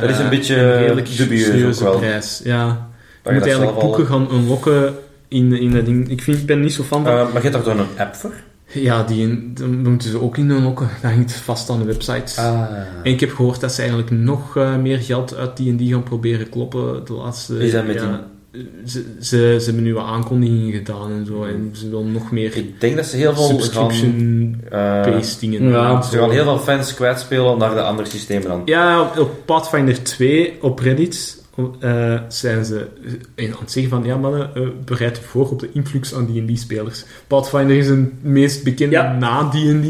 S1: Dat is een
S4: Eh,
S1: beetje
S4: redelijk
S1: dubieus ook
S4: serieuze
S1: wel.
S4: prijs. Ja.
S1: je
S4: Je moet
S1: dat
S4: eigenlijk
S1: zelf al-
S4: boeken gaan unlocken in, in dat ding. Ik, vind, ik ben niet zo fan van.
S1: Eh, maar je hebt daar toch een app voor?
S4: ja, die in- daar moeten ze ook in unlocken. Dat hangt vast aan de website.
S1: Eh.
S4: En ik heb gehoord dat ze eigenlijk nog eh, meer geld uit die en die gaan proberen kloppen de laatste...
S1: Is dat met
S4: ja, ze, ze, ze hebben nieuwe aankondigingen gedaan en zo. En ze willen nog meer
S1: Ik denk dat ze heel veel gaan...
S4: subscription
S1: eh,
S4: based dingen.
S5: ja,
S4: doen.
S1: ze gaan heel veel fans kwijtspelen naar de andere systemen dan.
S4: Ja, op Pathfinder 2 op Reddit eh, zijn ze eh, aan het zeggen van ja mannen, eh, bereid je voor op de influx aan D&D spelers. Pathfinder is een meest bekende
S5: Ja.
S4: na D&D.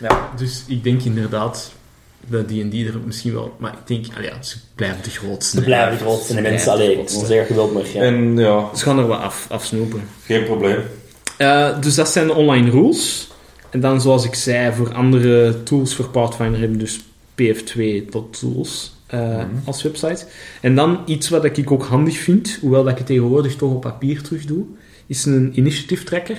S1: Ja.
S4: Dus ik denk inderdaad dat D&D er misschien wel... Maar ik denk, ah ja, ze blijven de grootste.
S3: Ze blijven trots en de mensen alleen. Ik wil zeggen, geweld maar. Ja.
S1: En ja,
S4: Ze gaan er wel af, afsnoepen.
S1: geen probleem.
S4: Eh, dus dat zijn de online rules. En dan, zoals ik zei, voor andere tools voor Pathfinder hebben we dus PF2 tot tools eh,
S3: Mhm.
S4: als website. En dan iets wat ik ook handig vind, hoewel dat ik het tegenwoordig toch op papier terug doe, is een initiative tracker.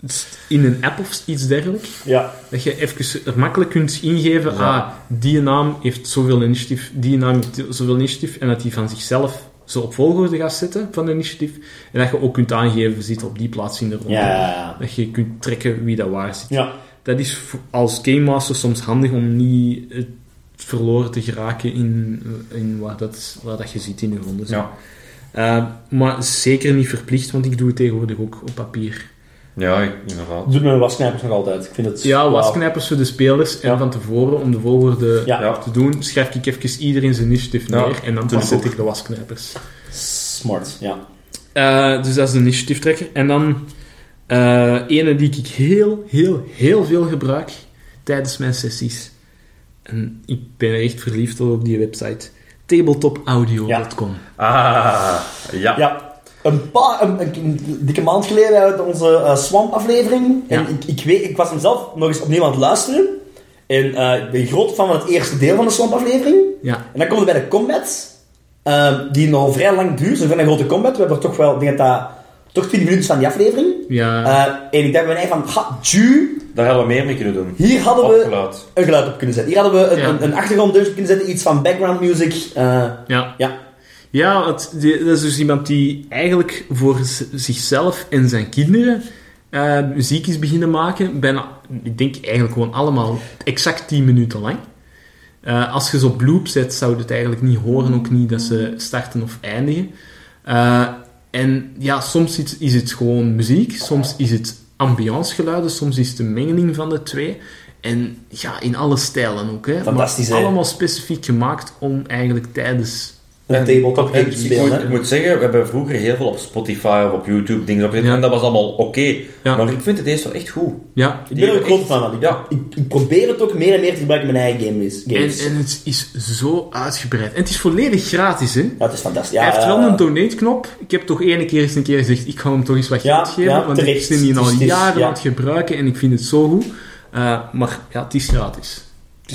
S4: Het is In een app of iets dergelijks.
S3: ja.
S4: Dat je even er makkelijk kunt ingeven,
S1: Ja.
S4: ah, die naam heeft zoveel initiatief, die naam heeft zoveel initiatief, en dat die van zichzelf zo op volgorde gaat zetten van initiatief. En dat je ook kunt aangeven, zit op die plaats in de ronde.
S3: Ja, ja, ja.
S4: Dat je kunt trekken wie dat waar zit.
S3: Ja.
S4: Dat is voor- als game master soms handig om niet eh, verloren te geraken in, eh, in waar, dat, waar dat je zit in de ronde.
S1: Ja.
S4: Eh, maar zeker niet verplicht, want ik doe het tegenwoordig ook op papier.
S1: Ja, ik- inderdaad.
S3: Doet me wasknijpers nog altijd. Ik vind het...
S4: Ja,
S3: wauw.
S4: wasknijpers voor de spelers en
S3: Ja.
S4: van tevoren om de volgorde
S3: Ja.
S1: Ja.
S4: te doen, schrijf ik even iedereen zijn initiative
S1: Ja,
S4: neer en dan
S1: doe
S4: pas
S1: ik ook.
S4: zet ik de wasknijpers.
S3: Smart, ja.
S4: Eh, dus dat is de initiative tracker. En dan eh ene die ik heel, heel, heel veel gebruik tijdens mijn sessies. En ik ben echt verliefd op die website. Tabletopaudio.com
S1: Ah, ja.
S3: Ja. Een paar... Een, een- een dikke maand geleden uit onze eh, Swamp-aflevering.
S4: Ja.
S3: En ik, ik, weet, ik was hem zelf nog eens opnieuw aan het luisteren. En eh, ik ben groot fan van het eerste deel van de Swamp-aflevering.
S4: Ja.
S3: En dan komen we bij de combat, ehm, die nog vrij lang duurt. Zo'n vrij grote combat. We hebben er toch wel, ik denk dat dat, toch 20 minuten van die aflevering.
S4: Ja.
S3: Eh, en ik dacht bij mij van, ha, ju,
S1: Daar hadden we meer mee kunnen doen.
S3: hier hadden we
S1: Opgeluid.
S3: een geluid op kunnen zetten. Hier hadden we een,
S4: Ja.
S3: een, een achtergronddeurtje op kunnen zetten, iets van background music. eh,
S4: ja.
S3: ja,
S4: Ja, want die- dat is dus iemand die eigenlijk voor z- zichzelf en zijn kinderen eh, muziek is beginnen maken. Bijna, ik denk eigenlijk gewoon allemaal exact 10 minuten lang. Eh, als je ze op loop zet, zou je het eigenlijk niet horen, ook niet dat ze starten of eindigen. Eh, en ja, soms is, is het gewoon muziek, soms is het ambiancegeluiden, soms is het een mengeling van de twee. En ja, in alle stijlen ook. Hè.
S3: Fantastisch,
S4: maar
S3: hè?
S4: allemaal specifiek gemaakt om eigenlijk tijdens
S3: een tabletop
S1: En
S3: game te
S1: ik,
S3: spelen.
S1: moet,
S3: hè.
S1: ik moet zeggen, we hebben vroeger heel veel op Spotify of op YouTube dingen opgezet.
S4: Ja.
S1: En dat was allemaal oké.
S4: Ja.
S1: Maar ik vind het eerst wel echt goed.
S4: Ja,
S3: Ik ben er ook groot fan van. Ik,
S1: Ja.
S3: ik, ik probeer het ook meer en meer te gebruiken in mijn eigen games.
S4: en,
S3: games.
S4: en het is zo uitgebreid. En het is volledig gratis, hè?
S3: dat is fantastisch. Ja,
S4: Hij heeft wel
S3: eh,
S4: een donate-knop. Ik heb toch ene keer eens een keer gezegd, ik ga hem toch eens wat
S3: Ja,
S4: geld geven,
S3: ja,
S4: want
S3: terecht.
S4: ik ben die al
S3: Het is- het is-
S4: jaren
S3: ja.
S4: aan het gebruiken en ik vind het zo goed. Eh, maar ja, het is gratis.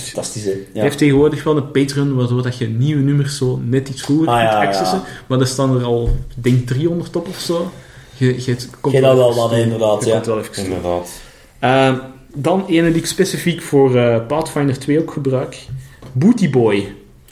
S3: Fantastisch, hè.
S4: Hij
S3: Ja.
S4: heeft tegenwoordig wel een Patreon, waardoor dat je nieuwe nummers zo net iets goeder
S3: Ah,
S4: kunt
S3: ja, ja.
S4: accessen. Maar er staan er al, ik denk 300 op of zo. Je, je komt
S3: Jij dat wel
S4: even
S3: wat,
S4: toe.
S3: inderdaad,
S4: Je
S3: ja.
S4: komt wel even toe.
S1: Inderdaad.
S4: Eh, dan ene die ik specifiek voor eh, Pathfinder 2 ook gebruik. Booty Boy.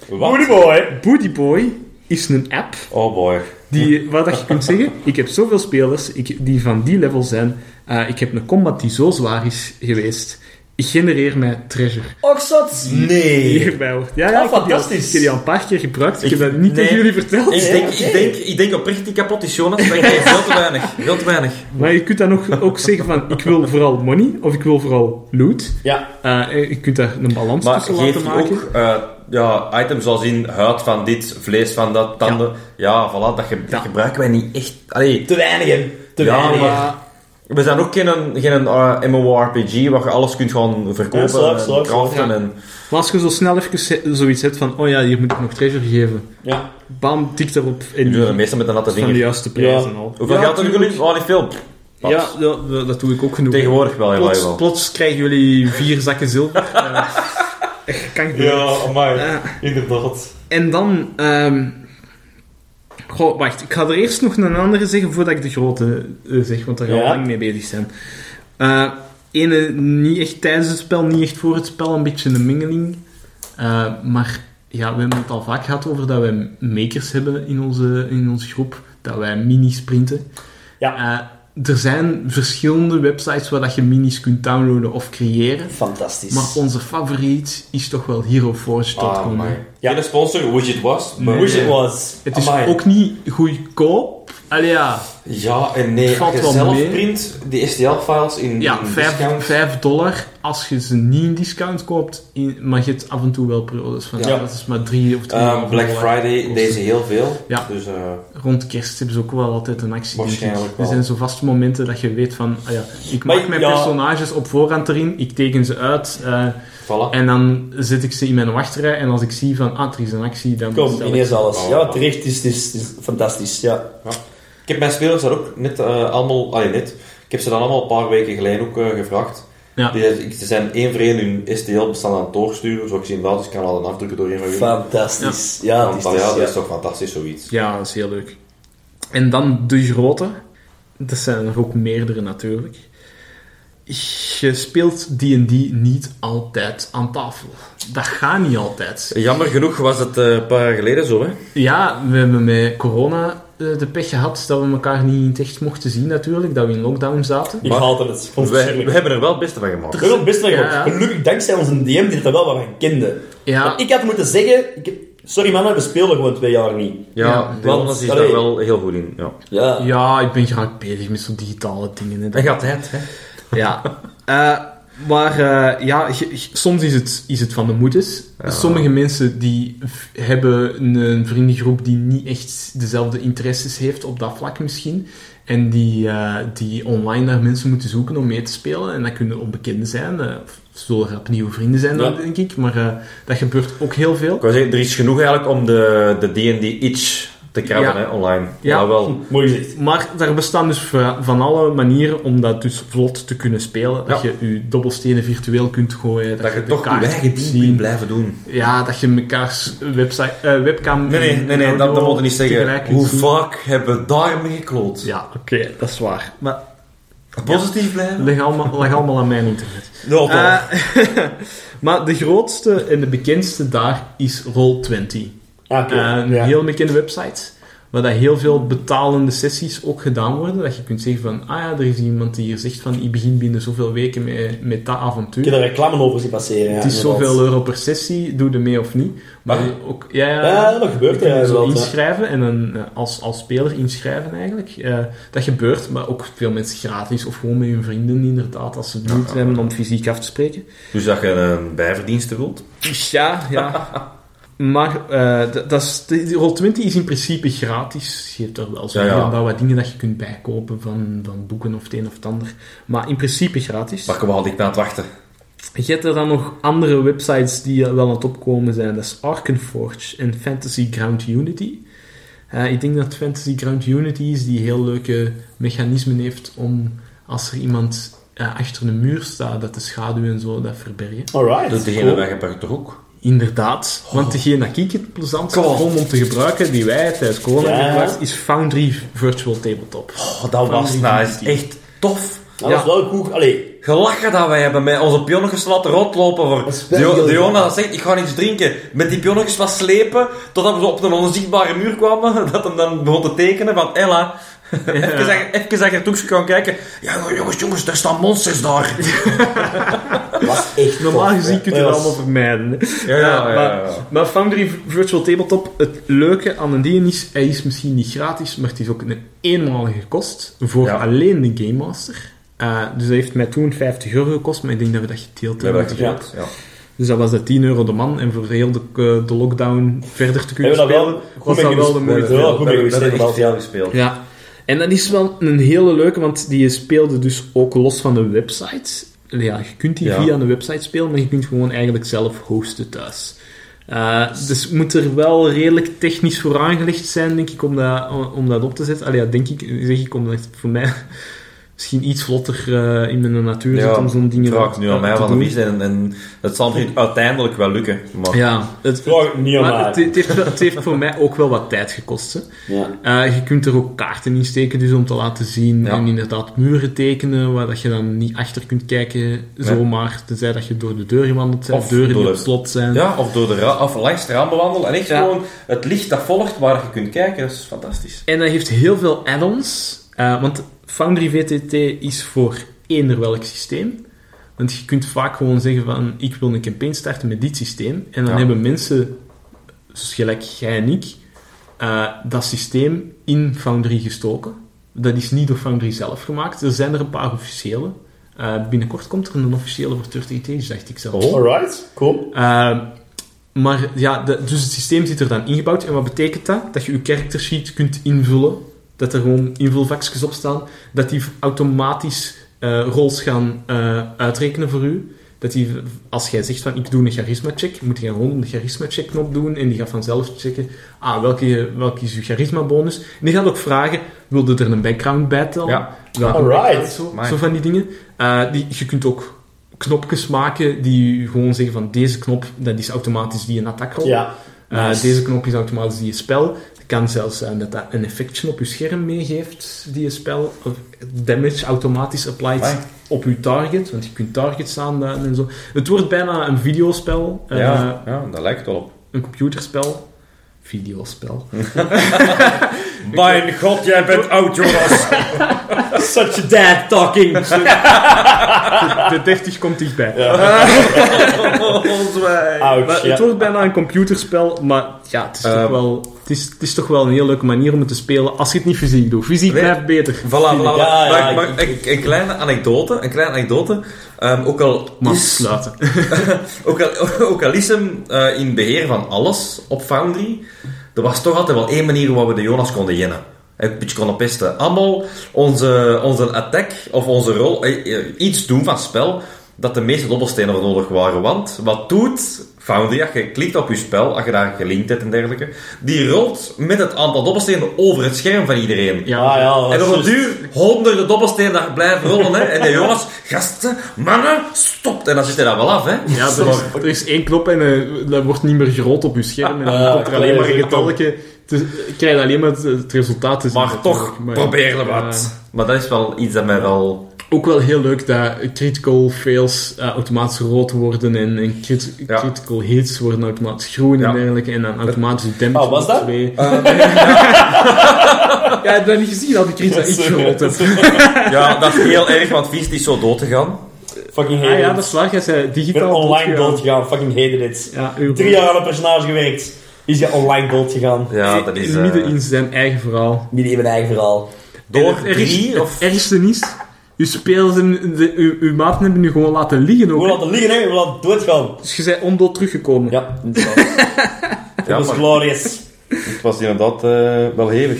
S1: Wat?
S3: boy.
S4: Booty Boy is een app
S1: Oh boy.
S4: die, waar dat je kunt zeggen: Ik heb zoveel spelers ik, die van die level zijn. eh, ik heb een combat die zo zwaar is geweest. Ik genereer mij treasure.
S3: Oxots? Nee.
S4: Die erbij hoort. Ja, ja,
S3: Ah,
S4: ik, heb die al,
S3: fantastisch.
S4: ik heb die al een paar keer gebruikt. Ik,
S1: Oh, Ik-
S4: heb dat niet
S1: nee.
S4: tegen jullie verteld.
S1: Ik denk, ik denk, ik denk oprecht die kapot is, Jonas. Maar ik denk veel te weinig. Veel te weinig.
S4: Maar je kunt dan ook, ook zeggen: van, Ik wil vooral money of ik wil vooral loot.
S3: Ja.
S4: Eh, je kunt daar een
S1: *laughs*
S4: balans
S1: Maar
S4: tussen
S1: geef
S4: laten
S1: je
S4: maken.
S1: ook eh, ja, items zoals in huid van dit, vlees van dat, tanden. Ja, voilà, dat, ge- dat gebruiken wij niet echt. Allee,
S3: Te weinig, hè. Te
S1: Ja,
S3: weinig.
S1: maar-
S4: Ja,
S1: We zijn ook geen, geen eh, MMORPG waar je alles kunt gaan verkopen
S3: Ja, slaap,
S1: en
S3: slaap,
S1: craften.
S4: slaap, ja.
S1: En,
S4: Maar als je zo snel even ze- zoiets hebt van, oh ja, hier moet ik nog treasure geven.
S3: Ja.
S4: Bam, tik daarop en
S1: die doen
S4: die
S1: dat meestal met een natte
S4: van de
S1: vinger.
S4: juiste prijzen
S3: Ja.
S4: al.
S1: Hoeveel
S4: Ja,
S1: geld hebben
S4: tuurlijk.
S1: jullie? Oh, niet veel. Pff,
S4: Ja,
S1: paps.
S4: ja, dat dat doe ik ook genoeg.
S1: Tegenwoordig wel, jawel,
S4: Plots,
S1: jawel.
S4: plots krijgen jullie vier zakken zilver.
S1: *laughs*
S4: Eh, echt, kan ik doen.
S3: amai.
S4: Eh,
S3: Inderdaad.
S4: En dan... ehm, goh, wacht. Ik ga er eerst nog een andere zeggen voordat ik de grote eh, zeg, want daar gaan we
S3: Ja.
S4: lang mee bezig zijn. Eh ene niet echt tijdens het spel, niet echt voor het spel, een beetje een mengeling. Eh, maar ja, we hebben het al vaak gehad over dat wij makers hebben in onze, in onze groep. Dat wij minis printen.
S3: Ja.
S4: Eh, er zijn verschillende websites waar dat je minis kunt downloaden of creëren.
S3: Fantastisch.
S4: Maar onze favoriet is toch wel
S1: Ah,
S4: heroforge.com. hè.
S1: amai.
S3: Ja.
S1: Geen sponsor, Widget was. maar-
S4: Nee.
S3: Wish it was.
S4: Het is
S3: Amai.
S4: ook niet goedkoop. Allee ja,
S1: Ja en nee.
S4: Valt
S1: Als je
S4: wel
S1: zelf
S4: mee.
S1: print die STL-files in,
S4: ja
S1: in
S4: 5,
S1: discount.
S4: 5 dollar als je ze niet in discount koopt. In, maar je hebt af en toe wel periodes van
S1: Ja.
S4: ja. dat is maar 3 of 2
S1: Ehm, Black Friday, deze heel veel.
S4: Ja.
S1: Dus eh,
S4: Rond kerst hebben ze ook wel altijd een actie. denk ik.
S1: Waarschijnlijk wel.
S4: Er zijn zo vaste momenten dat je weet van... ah ja, ik
S3: Maar
S4: maak mijn
S3: ja.
S4: personages op voorhand erin. Ik teken ze uit. eh,
S1: voilà.
S4: en dan zet ik ze in mijn wachtrij. En als ik zie van... Ah, er is een actie. Dan
S3: Kom,
S4: bestel ik.
S3: ineens alles. Ja, terecht. Het is, het is, het is fantastisch. Ja.
S1: Ik heb mijn spelers daar ook net eh, allemaal... Allee, net. Ik heb ze dan allemaal een paar weken geleden ook eh, gevraagd.
S4: Ja.
S1: Die, ze zijn één voor één hun STL-bestand aan het doorsturen. Zoals ik zie wel, dus ik kan al een afdrukken door een van jullie.
S3: Fantastisch. Ja,
S1: Want,
S3: het is,
S1: ah,
S3: het
S1: ja,
S3: is- ja. dus
S1: dat is toch fantastisch, zoiets.
S4: Ja, dat is heel leuk. En dan de grote. Dat zijn er ook meerdere natuurlijk. Je speelt D&D niet altijd aan tafel. Dat gaat niet altijd.
S1: Jammer genoeg was het eh, een paar jaar geleden zo, hè.
S4: Ja, we hebben met corona eh, de pech gehad dat we elkaar niet echt mochten zien natuurlijk. Dat we in lockdown zaten.
S3: Ik
S1: Maar-
S3: haalde het. Ik vond het
S1: We,
S3: verschrikkelijk.
S1: we hebben er wel het beste van
S3: Ik
S1: gemaakt.
S3: ben ook best wel
S4: Ja, ja.
S3: Gelukkig dankzij onze DM die het wel wat van kende.
S4: Ja,
S3: Want ik had moeten zeggen... Ik, heb- sorry mannen, we speelden gewoon twee jaar niet.
S1: Ja,
S4: Ja,
S1: de Jonas
S3: want-
S1: is
S3: allee.
S1: daar wel heel goed in. Ja.
S3: Ja.
S4: ja, ik ben graag bezig met zo'n digitale dingen. hè. Dat-
S1: En gaat het, hè.
S4: Ja. Eh, maar eh, ja, je- je- soms is het, is het van de moeders. Sommige mensen die v- hebben een, vriendengroep die niet echt dezelfde interesses heeft op dat vlak misschien. En die, eh, die online naar mensen moeten zoeken om mee te spelen. En dat kunnen onbekenden zijn. eh, of zullen er opnieuw vrienden zijn, dan,
S3: Ja.
S4: denk ik. Maar eh, dat gebeurt ook heel veel.
S1: Ik wou zeggen, er is genoeg eigenlijk om de de D&D-itch te krabben,
S4: Ja.
S1: hè, online.
S4: Ja.
S1: wel.
S3: Mooi gezegd.
S4: Maar daar bestaan dus va- van alle manieren om dat dus vlot te kunnen spelen. Dat
S1: Ja.
S4: je je dobbelstenen virtueel kunt gooien. Dat,
S1: Dat je
S4: de
S1: toch je
S4: kaart
S1: eigen
S4: kunt
S1: ding kunt blijven doen.
S4: Ja, dat je mekaars website, eh, webcam...
S1: Nee, nee,
S4: en
S1: nee, nee dat, dat
S4: audio
S1: moet je niet
S4: tegelijk
S1: zeggen.
S4: kunt
S1: Hoe
S4: zien.
S1: vaak hebben we daarmee gekloot?
S4: Ja, oké, dat is waar. Maar
S1: Positief blijven?
S4: leg allemaal, leg allemaal aan mijn internet.
S1: Ja, toch.
S4: Eh, maar de grootste en de bekendste daar is Roll20.
S3: Ah, oké.
S4: Eh, een heel bekende website. Waar dat heel veel betalende sessies ook gedaan worden. Dat je kunt zeggen van, ah ja, er is iemand die hier zegt van, ik begin binnen zoveel weken met, met dat
S3: Ik
S4: avontuur.
S3: heb daar reclame over zien passeren. ja,
S4: het is
S3: inderdaad.
S4: zoveel euro per sessie, doe er mee of niet. Maar
S1: Mag?
S4: ook, ja, ja,
S3: Ja, dat gebeurt
S4: Je
S3: er
S4: kunt zo
S3: inderdaad, ja.
S4: inschrijven en dan eh, als, als speler inschrijven eigenlijk. Eh, dat gebeurt, maar ook veel mensen gratis of gewoon met hun vrienden inderdaad, als ze het moeite hebben om fysiek af te spreken.
S1: Dus dat je een bijverdienste wilt?
S4: Dus Ja, ja. maar eh, dat- dat is- de- die Roll20 is in principe gratis. Je hebt er wel zo
S1: Ja,
S4: hier
S1: ja.
S4: en daar wat dingen dat je kunt bijkopen van, van boeken of het een of het ander. Maar in principe gratis.
S1: Maar kom al, ik ben aan het wachten.
S4: Je hebt er dan nog andere websites die wel aan het opkomen zijn. Dat is Arkenforge en Fantasy Ground Unity. Eh, ik denk dat Fantasy Ground Unity is die heel leuke mechanismen heeft om als er iemand eh, achter een muur staat, dat de schaduw en zo dat verbergen.
S3: Alright.
S1: Dat is degene
S3: cool.
S1: bij Gepard toch ook?
S4: Inderdaad, want degene dat ik het plezant vond om te gebruiken, die wij tijdens corona
S3: Ja.
S4: hebben gebruikt, is Foundry Virtual Tabletop.
S1: Oh, dat was
S4: die
S1: nice.
S4: die-
S1: Echt tof.
S3: Dat
S4: Ja.
S3: was wel goed. Allee,
S1: Gelachen dat wij hebben met onze pionnetjes laten rondlopen. Voor.
S5: is wel
S1: Dio-
S5: heel
S1: Diona zegt, ik ga iets drinken. Met die pionnetjes was slepen, totdat we zo op een onzichtbare muur kwamen. Dat hem dan begon te tekenen van, Ella... Even zeggen- even zeggen, toen ze gaan kijken. Ja, jongens, jongens, daar staan monsters daar.
S3: dat was echt
S4: *laughs* Normaal
S3: tof,
S4: gezien
S3: ja.
S4: kun je dat
S3: Dat was-
S4: allemaal vermijden. hè.
S1: Ja, ja, ja,
S4: maar,
S1: ja, ja.
S4: maar Foundry Virtual Tabletop, het leuke aan een ding is, hij is misschien niet gratis, maar het is ook een eenmalige kost voor
S1: Ja.
S4: alleen de Game Master. Eh, dus dat heeft mij toen 50 euro gekost, maar ik denk dat we dat gedeeld
S1: We hebben
S4: hebben.
S1: dat
S4: met de
S1: gebeurd, ja.
S4: groep. Dus dat was dat 10 euro de man, en voor heel de, eh, de lockdown verder te kunnen
S3: Hebben we dat
S4: spelen,
S3: wel goed
S4: was
S3: mee
S4: dat wel de
S3: kunnen
S1: We
S4: moeite.
S1: hebben
S3: Ja, goed,
S1: we hebben
S3: we hebben
S1: echt
S3: wel
S1: veel gespeeld.
S4: Ja. En dat is wel een hele leuke, want die speelde dus ook los van de website. Ja, je kunt die
S1: Ja.
S4: via een website spelen, maar je kunt gewoon eigenlijk zelf hosten thuis. Eh, dus moet er wel redelijk technisch voor aangelegd zijn, denk ik, om dat, om dat op te zetten. Allee, ja, denk ik, zeg ik, omdat het voor mij *laughs* misschien iets vlotter eh, in mijn natuur zit om zo'n dingen
S1: vraagt nu
S4: eh,
S1: aan mij
S4: te
S1: van de
S4: doen.
S1: wies en, en het zal misschien uiteindelijk wel lukken. Maar
S4: Ja, het,
S3: Vraag het niet aan
S4: maar
S3: mij.
S4: het, het heeft, wel- het heeft voor mij ook wel wat tijd gekost. Hè.
S3: Ja.
S4: Eh, je kunt er ook kaarten in steken, dus om te laten zien.
S1: Ja.
S4: En inderdaad muren tekenen, waar dat je dan niet achter kunt kijken, zomaar. Tenzij dat je door de deur gewandeld bent,
S1: Of
S4: deuren
S1: door
S4: die op
S1: de-
S4: slot zijn.
S1: Ja, of door de ra- of langs het raam bewandelen. En echt
S4: Ja.
S1: gewoon het licht dat volgt waar je kunt kijken. Dat is fantastisch.
S4: En dat heeft heel veel add-ons. eh, want Foundry VTT is voor eender welk systeem. Want je kunt vaak gewoon zeggen van, ik wil een campaign starten met dit systeem. En dan
S1: Ja.
S4: hebben mensen, dus gelijk jij en ik, eh, dat systeem in Foundry gestoken. Dat is niet door Foundry zelf gemaakt. Er zijn er een paar officiële. Eh, binnenkort komt er een officiële voor 30 days, dacht ik
S3: Oh.
S4: zelf.
S3: Alright, cool.
S4: Ehm, maar ja, de- dus het systeem zit er dan ingebouwd. En wat betekent dat? Dat je je character sheet kunt invullen. Dat er gewoon invulvakjes op staan. Dat die automatisch eh roles gaan eh, uitrekenen voor u. Dat die, als jij zegt van ik doe een charisma check, moet je gewoon een charisma check knop doen. En die gaat vanzelf checken, ah, welke, welke is je charisma bonus? En die gaat ook vragen, wilde er een background bij tellen?
S1: Ja.
S4: Welke
S3: Alright.
S4: background, Zo,
S1: Amai.
S4: zo van die dingen. Eh, die, je kunt ook knopjes maken die u gewoon zeggen van deze knop, dat is automatisch die een attackroll.
S3: Ja.
S4: Eh,
S3: Nice.
S4: Deze knop is automatisch die je spel. Het kan zelfs zijn dat dat een effectje op je scherm meegeeft, die je spel. Of damage automatisch applied
S1: Amai.
S4: op je target, want je kunt targets aanduiden en zo. Het wordt bijna een videospel, eh,
S1: ja, ja, dat lijkt wel op.
S4: een computerspel. Videospel.
S1: Mijn god, jij bent oud, Jonas.
S3: *laughs* Such a dad talking.
S4: *laughs* De 30 komt dichtbij. Maar
S3: Ouch,
S4: het
S3: ja.
S4: wordt bijna een computerspel, maar ja, het is, toch
S1: Ehm.
S4: wel, het, is, het is toch wel een heel leuke manier om het te spelen als je het niet fysiek doet. Fysiek
S1: Nee.
S4: blijft beter.
S1: Voilà, voilà.
S3: Ja,
S1: maar,
S3: ja,
S1: maar
S3: ik-
S1: een, een kleine anekdote. Een kleine anekdote. Ehm, ook al
S4: Maar
S1: is
S4: *laughs* sluiten.
S1: Ook al, *laughs* ook al is hem eh, in beheer van alles op Foundry, er was toch altijd wel één manier waarop we de Jonas konden jennen. Eh, Een beetje konden pesten. Allemaal onze, onze attack of onze rol, eh, eh, iets doen van het spel dat de meeste dobbelstenen voor nodig waren. Want wat doet Foundry als je klikt op je spel, als je daar gelinkt hebt en dergelijke, die rolt met het aantal dobbelstenen over het scherm van iedereen.
S3: Ah, Ja, ja. dat
S1: En
S3: is
S1: op een
S3: juist.
S1: duur honderden dobbelstenen daar blijven rollen. Hè. En de Jonas, gasten, mannen, stopt. En dan zit hij daar wel af. Hè.
S4: Ja, er is, er is één knop en eh, dat wordt niet meer gerold op je scherm. En dan
S3: Ah,
S4: komt er alleen maar een
S3: clever.
S4: getalletje. te- krijg je alleen maar het, het resultaat te zien.
S1: Maar toch,
S4: Maar-
S1: probeer er wat. Maar dat is wel iets dat mij wel...
S4: Ook wel heel leuk dat critical fails eh, automatisch rood worden en, en crit-
S1: Ja.
S4: critical hits worden automatisch groen
S1: Ja.
S4: en dergelijke. En dan automatisch damage
S3: Oh, was
S4: wordt
S3: dat?
S4: twee. *laughs* ja, ik heb dat niet gezien dat ik iets dat ik gerold heb.
S1: Ja, dat is heel erg, want Vies is zo dood te gaan.
S3: Fucking
S4: Ah ja,
S3: hated
S4: dat
S3: it.
S4: is waar. Jij zei
S3: Ik ben
S4: digitaal
S3: online
S4: doodgegaan.
S3: dood gegaan. Fucking hated it.
S4: Ja, uw-
S3: Drie jaar aan een personage gewerkt. Is je online dood gegaan.
S1: Ja, dat is... eh,
S4: Midden in zijn eigen verhaal.
S3: Niet in mijn eigen verhaal.
S1: door
S4: En het ergste-
S1: drie of...
S4: Het ergste is, uw spelers en de, uw, uw maten hebben nu gewoon laten liggen ook.
S3: We
S4: hè.
S3: laten liggen, hè. We laten doodgaan.
S4: Dus je bent ondood teruggekomen. *laughs*
S3: Ja, inderdaad.
S1: Ja,
S3: Dat was
S1: maar
S3: glorious.
S1: het was inderdaad eh, wel hevig.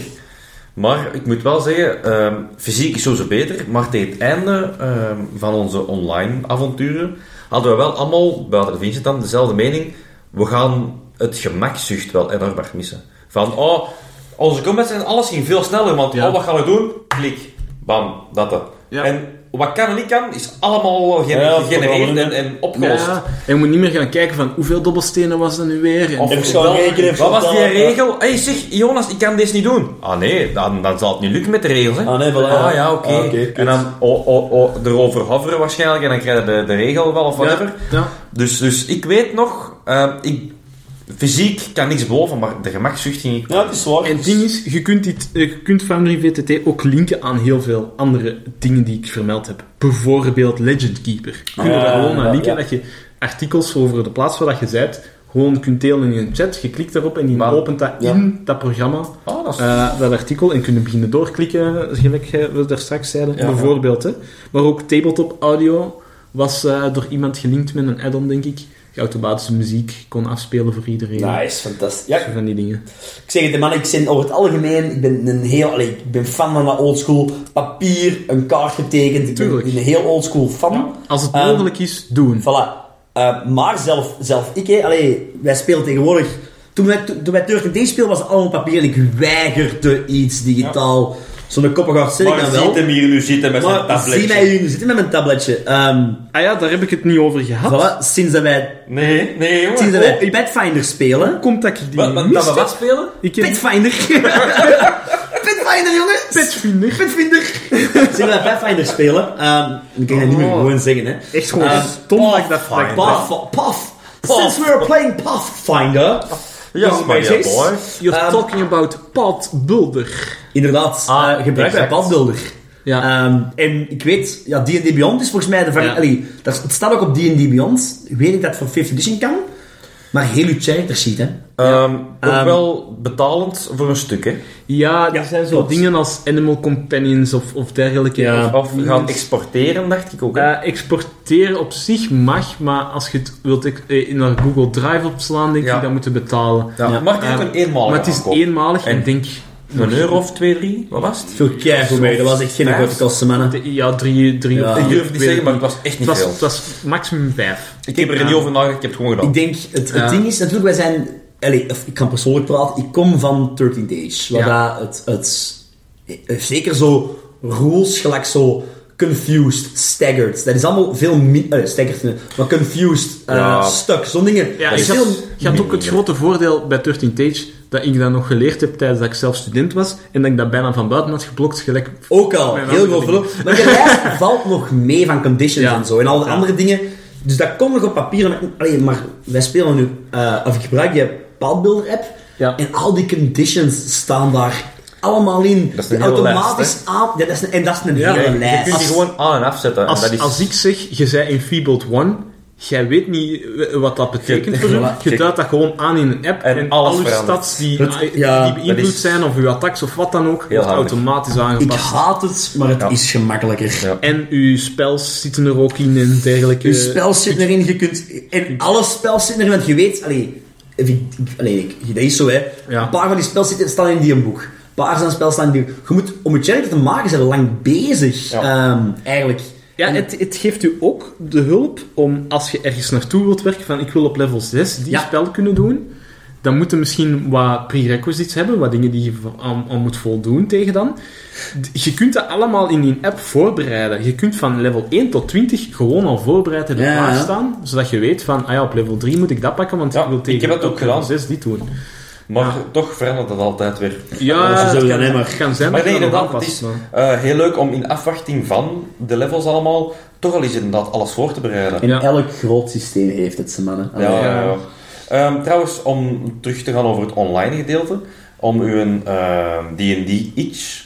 S1: Maar ik moet wel zeggen, ehm, fysiek is sowieso beter. Maar tegen het einde ehm, van onze online avonturen hadden we wel allemaal, buiten de Vincent dan, dezelfde mening. We gaan het gemakzucht wel enorm hard missen. Van, oh, onze combats en alles ging veel sneller. Want,
S4: Ja.
S1: oh, wat gaan we doen? Klik. Bam. Dat. dat.
S4: Ja.
S1: En wat kan en niet kan, is allemaal eh, gene-
S3: Ja,
S1: gegenereerd en,
S3: vooral, hè.
S1: en opgelost.
S4: Ja, en je moet niet meer gaan kijken van hoeveel dobbelstenen was er nu weer. En,
S3: Even gaan
S1: Wel,
S3: rekenen. even
S1: Wat was
S3: gaan
S1: die
S3: tellen.
S1: regel? Hé, hey, zeg, Jonas, ik kan deze niet doen. Ah nee, dan, dan zal het niet lukken met de regels, hè?
S3: Ah, nee, voilà, ja.
S1: Ah ja, oké.
S3: Ah, oké, kut.
S1: en dan oh, oh, oh, erover hoveren waarschijnlijk en dan krijg je de, de regel wel of whatever.
S4: ja.
S1: Dus, dus ik weet nog, ehm, ik, fysiek kan niks boven, maar de gemakzucht ging ik...
S3: Ja, het is waar.
S4: en het ding is, je kunt, dit, eh, je kunt Foundry VTT ook linken aan heel veel andere dingen die ik vermeld heb. Bijvoorbeeld Legend Keeper. Je kunt
S3: Ja,
S4: er gewoon
S3: ja,
S4: aan linken
S3: ja.
S4: dat je artikels over de plaats waar dat je bent, gewoon kunt delen in een chat. Je klikt daarop en die
S1: Maar-
S4: opent dat
S3: ja.
S4: in dat programma.
S1: Ah, dat is...
S4: eh, dat artikel en kunnen beginnen doorklikken, gelijk eh, we daar straks zeiden,
S1: Ja.
S4: bijvoorbeeld. Hè. Maar ook tabletop audio, was eh, door iemand gelinkt met een add-on, denk ik. Je automatische muziek kon afspelen voor iedereen.
S7: Nice, fantastisch. Ja,
S4: Zo Van die dingen.
S7: Ik zeg het, hè, man, ik ben over het algemeen, ik ben een heel, allee, ik ben fan van dat oldschool papier, een kaart getekend. Ik ben
S4: Tuurlijk.
S7: een heel oldschool fan.
S4: Als het
S7: Ehm,
S4: mogelijk is, doen.
S7: Voilà. Eh, maar zelf, zelf ik, hè, allee,
S3: Wij spelen tegenwoordig... Toen wij, toen wij Turk D speelden, was het allemaal papier. En ik weigerde iets digitaal. Zo'n koppig zit ik
S8: Maar
S3: dan
S8: ziet
S3: wel.
S8: hem hier nu zitten met zijn
S3: Maar zie mij
S8: tabletje.
S3: hier nu zitten met mijn tabletje. Ehm
S4: Ah ja, daar heb ik het niet over gehad.
S3: voilà, sinds dat wij,
S8: Nee, nee,
S3: sinds
S8: jongen.
S3: dat
S4: oh.
S3: wij Pathfinder spelen...
S4: Hoe komt dat ik die
S1: Oh. Wat, wat,
S4: mist
S1: dat we
S4: heb?
S1: wat spelen?
S4: Ik heb
S3: Pathfinder.
S4: *laughs*
S3: Pathfinder, jongens.
S4: Petfinder.
S3: Pathfinder. Sinds dat wij Pathfinder spelen... ehm ik kan dat niet meer
S4: Oh.
S3: gewoon zeggen, hè.
S4: Echt gewoon
S1: Eh,
S3: Ehm,
S4: stom dat ik dat vraag.
S3: Puff, puff. Since we were playing Pathfinder...
S1: Ja, maar ja,
S3: meisjes.
S1: boy.
S4: You're
S3: Ehm,
S4: talking about padbulder.
S3: Inderdaad,
S1: Ah,
S3: eh, gebruikt bij
S1: exact.
S3: padbeelder.
S1: Eh,
S4: Ja.
S3: Ehm, en ik weet, ja, D&D Beyond is volgens mij de
S4: Ja.
S3: variant... allee, daar- het staat ook op D&D Beyond. Ik weet niet dat het voor 5th edition kan. Maar heel uw character sheet, hè.
S1: Ehm, ook
S3: Ehm,
S1: wel betalend voor een stuk, hè.
S4: Ja, er
S3: ja,
S4: zijn zo
S3: klopt.
S4: dingen als animal companions of, of dergelijke.
S3: Ja.
S4: Of-
S1: Of gaan exporteren, dacht ik ook, hè.
S4: Eh, exporteren op zich mag, maar als je het wilt ex- eh, in een Google Drive opslaan, denk
S1: Ja.
S4: ik, dan moeten betalen.
S1: ja.
S3: ja.
S1: Mag je ook
S4: Ehm,
S1: een eenmalig
S4: maar het is
S1: aankoop?
S4: eenmalig en,
S1: En-
S4: denk...
S1: Een euro of twee, drie? Wat was het?
S3: Veel keer voor mij. Dat was echt geen
S1: Vijf.
S3: grote kosten, mannen.
S4: Ja, drie, drie
S3: Ja.
S4: of
S1: Ik
S4: vier,
S1: durf het
S4: weet
S1: niet zeggen, maar
S4: ik
S1: het was echt
S4: het
S1: niet
S4: was,
S1: veel.
S4: het was maximum vijf.
S1: Ik heb er niet over nagedacht, ik heb het gewoon gedaan.
S3: Ik denk, het, het
S4: Ja.
S3: ding is natuurlijk, wij zijn... Allee, of, ik kan persoonlijk praten. Ik kom van 13 Days. Waar
S4: Ja.
S3: dat het, het, eh, Zeker zo rules, gelijk zo... Confused, staggered. Dat is allemaal veel minder... staggered, nee, maar confused, eh,
S1: Ja.
S3: stuck. Zo'n dingen.
S4: Ja,
S3: Dat
S4: ik
S3: is
S4: had,
S3: veel
S4: ik had ook het grote voordeel bij 13 Tage dat ik dat nog geleerd heb tijdens dat ik zelf student was en dat ik dat bijna van buiten had geblokt, gelijk...
S3: Ook al,
S4: Mijn
S3: heel
S4: andere
S3: veel verloop. Maar de
S4: *laughs*
S3: lijst valt nog mee van conditions
S4: Ja.
S3: en zo. En al de
S4: Ja.
S3: andere dingen. Dus dat komt nog op papier. Maar, allee, maar wij spelen nu... eh, of ik gebruik je padbuilder app.
S4: Ja.
S3: En al die conditions staan daar allemaal in.
S1: Dat is een
S3: Die
S1: hele
S3: automatisch
S1: lijst,
S3: aan... Ja, dat is een, en dat is een
S4: Ja.
S3: hele
S4: Ja,
S1: Je
S3: lijst.
S1: kunt die gewoon aan- en afzetten. en
S4: Als,
S1: dat is...
S4: als ik zeg, je zei in Feebled One, jij weet niet eh, wat dat betekent
S1: Je-
S4: voor je.
S1: voilà,
S4: Je
S1: kijk.
S4: duidt dat gewoon aan in een app en,
S1: En
S4: al
S1: alles
S4: je
S1: verandert.
S4: stats die, ah, die
S3: ja,
S4: beïnvloed
S1: dat is-
S4: zijn, of uw attacks of wat dan ook,
S1: Heel
S4: wordt
S1: handig.
S4: automatisch
S3: Ik
S4: aangepast.
S3: haat het, maar het
S1: Ja.
S3: is gemakkelijker.
S1: Ja.
S4: En uw spels zitten er ook in en dergelijke.
S3: Je
S1: Eh,
S3: spels zit erin, je kunt... En alle spels zitten erin, want je weet... Allee, ik- ik- allee, ik- dat is zo, hè.
S4: Ja.
S3: Een paar van die spels zitten, staan in die een boek. Een paar van die spels staan in die... Je moet, om het character te maken, zijn we lang bezig. ehm, eigenlijk.
S4: Ja, het, het geeft u ook de hulp om, als je ergens naartoe wilt werken, van ik wil op level 6 die
S3: Ja.
S4: spel kunnen doen, dan moet je misschien wat prerequisites hebben, wat dingen die je vo- aan, aan moet voldoen tegen dan. D- Je kunt dat allemaal in die app voorbereiden. Je kunt van level 1 tot 20 gewoon al voorbereid hebben
S3: Ja, ja.
S4: klaarstaan, zodat je weet van, ah ja, op level 3 moet ik dat pakken, want
S1: Ja,
S4: ik wil
S1: ik
S4: tegen
S1: heb dat ook
S4: op level
S1: gedaan.
S4: 6 dit doen.
S1: Maar toch verandert dat altijd weer.
S4: Ja,
S3: dat
S4: het
S3: zullen
S4: kan,
S3: we dan
S4: het kan zijn
S1: Maar
S4: dat
S1: nee,
S4: je dat
S1: inderdaad,
S4: nog
S1: het
S4: aanpast.
S1: is
S4: maar-
S1: eh, heel leuk om in afwachting van de levels allemaal toch al eens inderdaad alles voor te bereiden.
S3: En
S4: Ja.
S3: elk groot systeem heeft het, ze mannen.
S1: Ja,
S3: Allee.
S1: ja, ja. Ehm, trouwens, om terug te gaan over het online gedeelte, om uw ehm, D&D itch,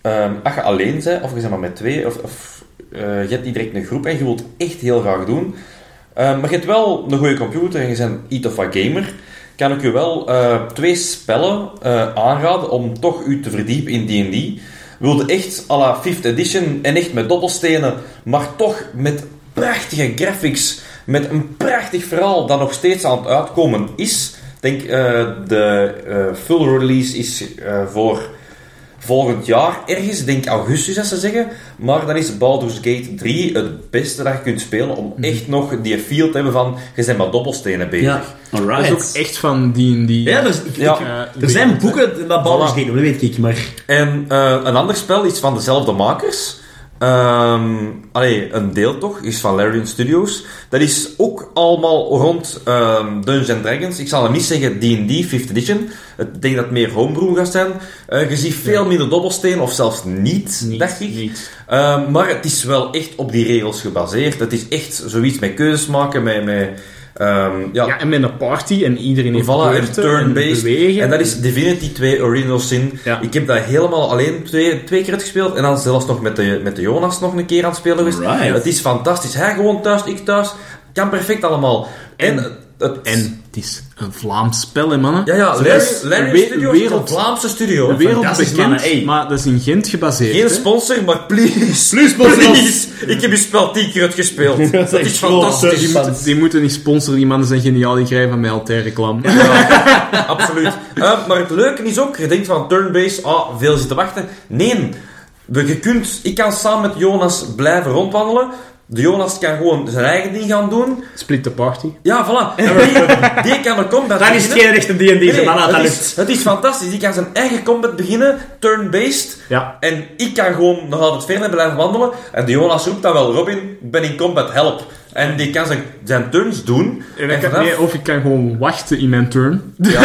S1: ehm, als je alleen bent, of je bent maar met twee, of, of eh, je hebt niet direct een groep en je wilt het echt heel graag doen, ehm, maar je hebt wel een goede computer en je bent iets of wat gamer, kan ik je wel eh, twee spellen eh, aanraden om toch u te verdiepen in D&D. Wilde echt à la 5th edition en echt met dobbelstenen, maar toch met prachtige graphics, met een prachtig verhaal dat nog steeds aan het uitkomen is. Ik denk, eh, de eh, full release is eh, voor volgend jaar ergens, ik denk augustus als ze zeggen. Maar dan is Baldur's Gate 3 het beste dat je kunt spelen om echt nog die feel te hebben van, je bent met dobbelstenen bezig.
S3: Ja, alright.
S4: Dat is ook echt van die en die...
S3: Ja, dus ik-
S1: Ja.
S3: ik-
S4: eh,
S3: er zijn
S4: wereld, hè.
S3: boeken dat Baldur's
S1: Voilà.
S3: Gate doen, dat weet ik, maar...
S1: En eh, een ander spel is van dezelfde makers. Ehm allee, een deel toch, is van Larian Studios. Dat is ook allemaal rond ehm Dungeons Dragons. Ik zal hem niet zeggen D&D 5th Edition. Ik denk dat het meer homebrew gaat zijn. Eh, je ziet veel minder dobbelsteen, of zelfs niet,
S4: Niet,
S1: dacht ik.
S4: niet.
S1: Ehm, maar het is wel echt op die regels gebaseerd. Het is echt zoiets met keuzes maken, met... met ehm, ja,
S4: Ja, en met een party en iedereen heeft
S1: Voilà, en
S4: beurten en
S1: turn-based.
S4: bewegen.
S1: En dat is Divinity 2 Original Sin.
S4: Ja.
S1: Ik heb dat helemaal alleen twee, twee keer uitgespeeld. En dan zelfs nog met de, met de Jonas nog een keer aan het spelen geweest.
S3: Right.
S1: Het is fantastisch. Hij gewoon thuis, ik thuis. Kan perfect allemaal. En, Het-
S4: En het is een Vlaams spel, hè, mannen.
S1: Ja, ja,
S4: Ze
S1: Larry,
S4: is
S1: Larry
S4: we-
S1: Studios is een
S4: wereld,
S1: Vlaamse studio. hè.
S4: wereldbekend,
S3: mannen, hey.
S4: maar dat is in Gent gebaseerd.
S1: Geen
S4: hè.
S1: sponsor, maar please. Please, please. Ik heb je spel tien keer
S4: *laughs*
S1: uitgespeeld. Dat is
S4: die,
S1: fantastisch.
S4: moeten, die moeten niet sponsoren, die mannen zijn geniaal, die krijgen van mij altijd reclame.
S3: *laughs*
S1: Absoluut. Eh, maar het leuke is ook, je denkt van turn-based, ah, veel zitten wachten. Nee, we, je kunt, ik kan samen met Jonas blijven rondwandelen. De Jonas kan gewoon zijn eigen ding gaan doen.
S4: Split the party.
S1: Ja, voilà. En die,
S3: *laughs*
S1: die kan er combat
S3: Dan is het geen echte D&D,
S1: Nee,
S3: man, dat
S1: het,
S3: lukt.
S1: is, het is fantastisch. Die kan zijn eigen combat beginnen, turn-based.
S4: Ja.
S1: En ik kan gewoon nog altijd verder blijven wandelen. En de Jonas roept dan wel, Robin, ik ben in combat, help. En die kan zijn, zijn turns doen.
S4: En dan kan,
S1: vanaf-
S4: nee, of ik kan gewoon wachten in mijn turn.
S1: ja,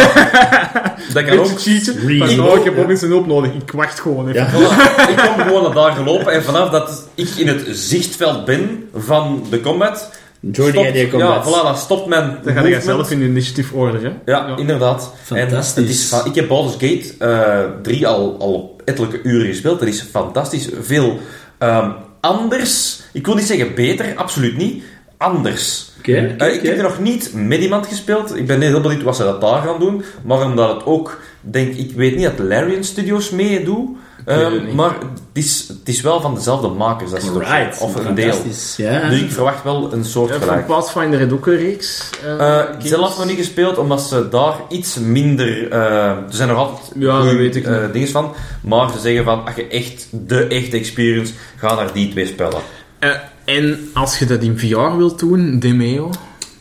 S1: dat kan ook.
S4: Beetje cheaten.
S3: Real.
S4: Van, oh, ik heb Robin's een hulp nodig. Ik wacht gewoon even.
S1: Voilà, ik kom gewoon naar daar gelopen en vanaf dat ik in het zichtveld ben van de combat...
S3: Join
S1: stopt-
S3: the idea
S1: Ja,
S3: combat.
S1: voilà, dan stopt men.
S4: Dan ga je zelf in de initiative order, hè.
S1: Ja,
S4: Ja.
S1: inderdaad.
S3: Fantastisch.
S1: En het is, van- ik heb Baldur's Gate eh 3 al, al op ettelijke uren gespeeld. Dat is fantastisch. Veel ehm, anders. Ik wil niet zeggen beter, absoluut niet. Anders.
S3: Oké,
S1: Eh, ik heb er nog niet met iemand gespeeld. Ik ben heel benieuwd wat ze dat daar gaan doen. Maar omdat het ook, denk ik, weet niet dat Larian Studios meedoet.
S4: weet
S1: Ehm,
S4: het niet.
S1: maar het is, het is wel van dezelfde makers. Dat is toch-
S3: Right.
S1: of een deel.
S3: Ja.
S1: Dus ik verwacht wel een soort
S4: Ja,
S1: gelijk.
S4: van Pathfinder heb je ook een reeks. eh,
S1: Eh,
S4: games.
S1: zelf nog niet gespeeld, omdat ze daar iets minder... eh, er zijn nog altijd
S4: Ja, dat
S1: goeie,
S4: weet ik
S1: eh, dingen van. Maar ze zeggen van, als je echt de echte experience... Ga naar die twee spellen.
S4: Eh, en als je dat in VR wilt doen, Demeo.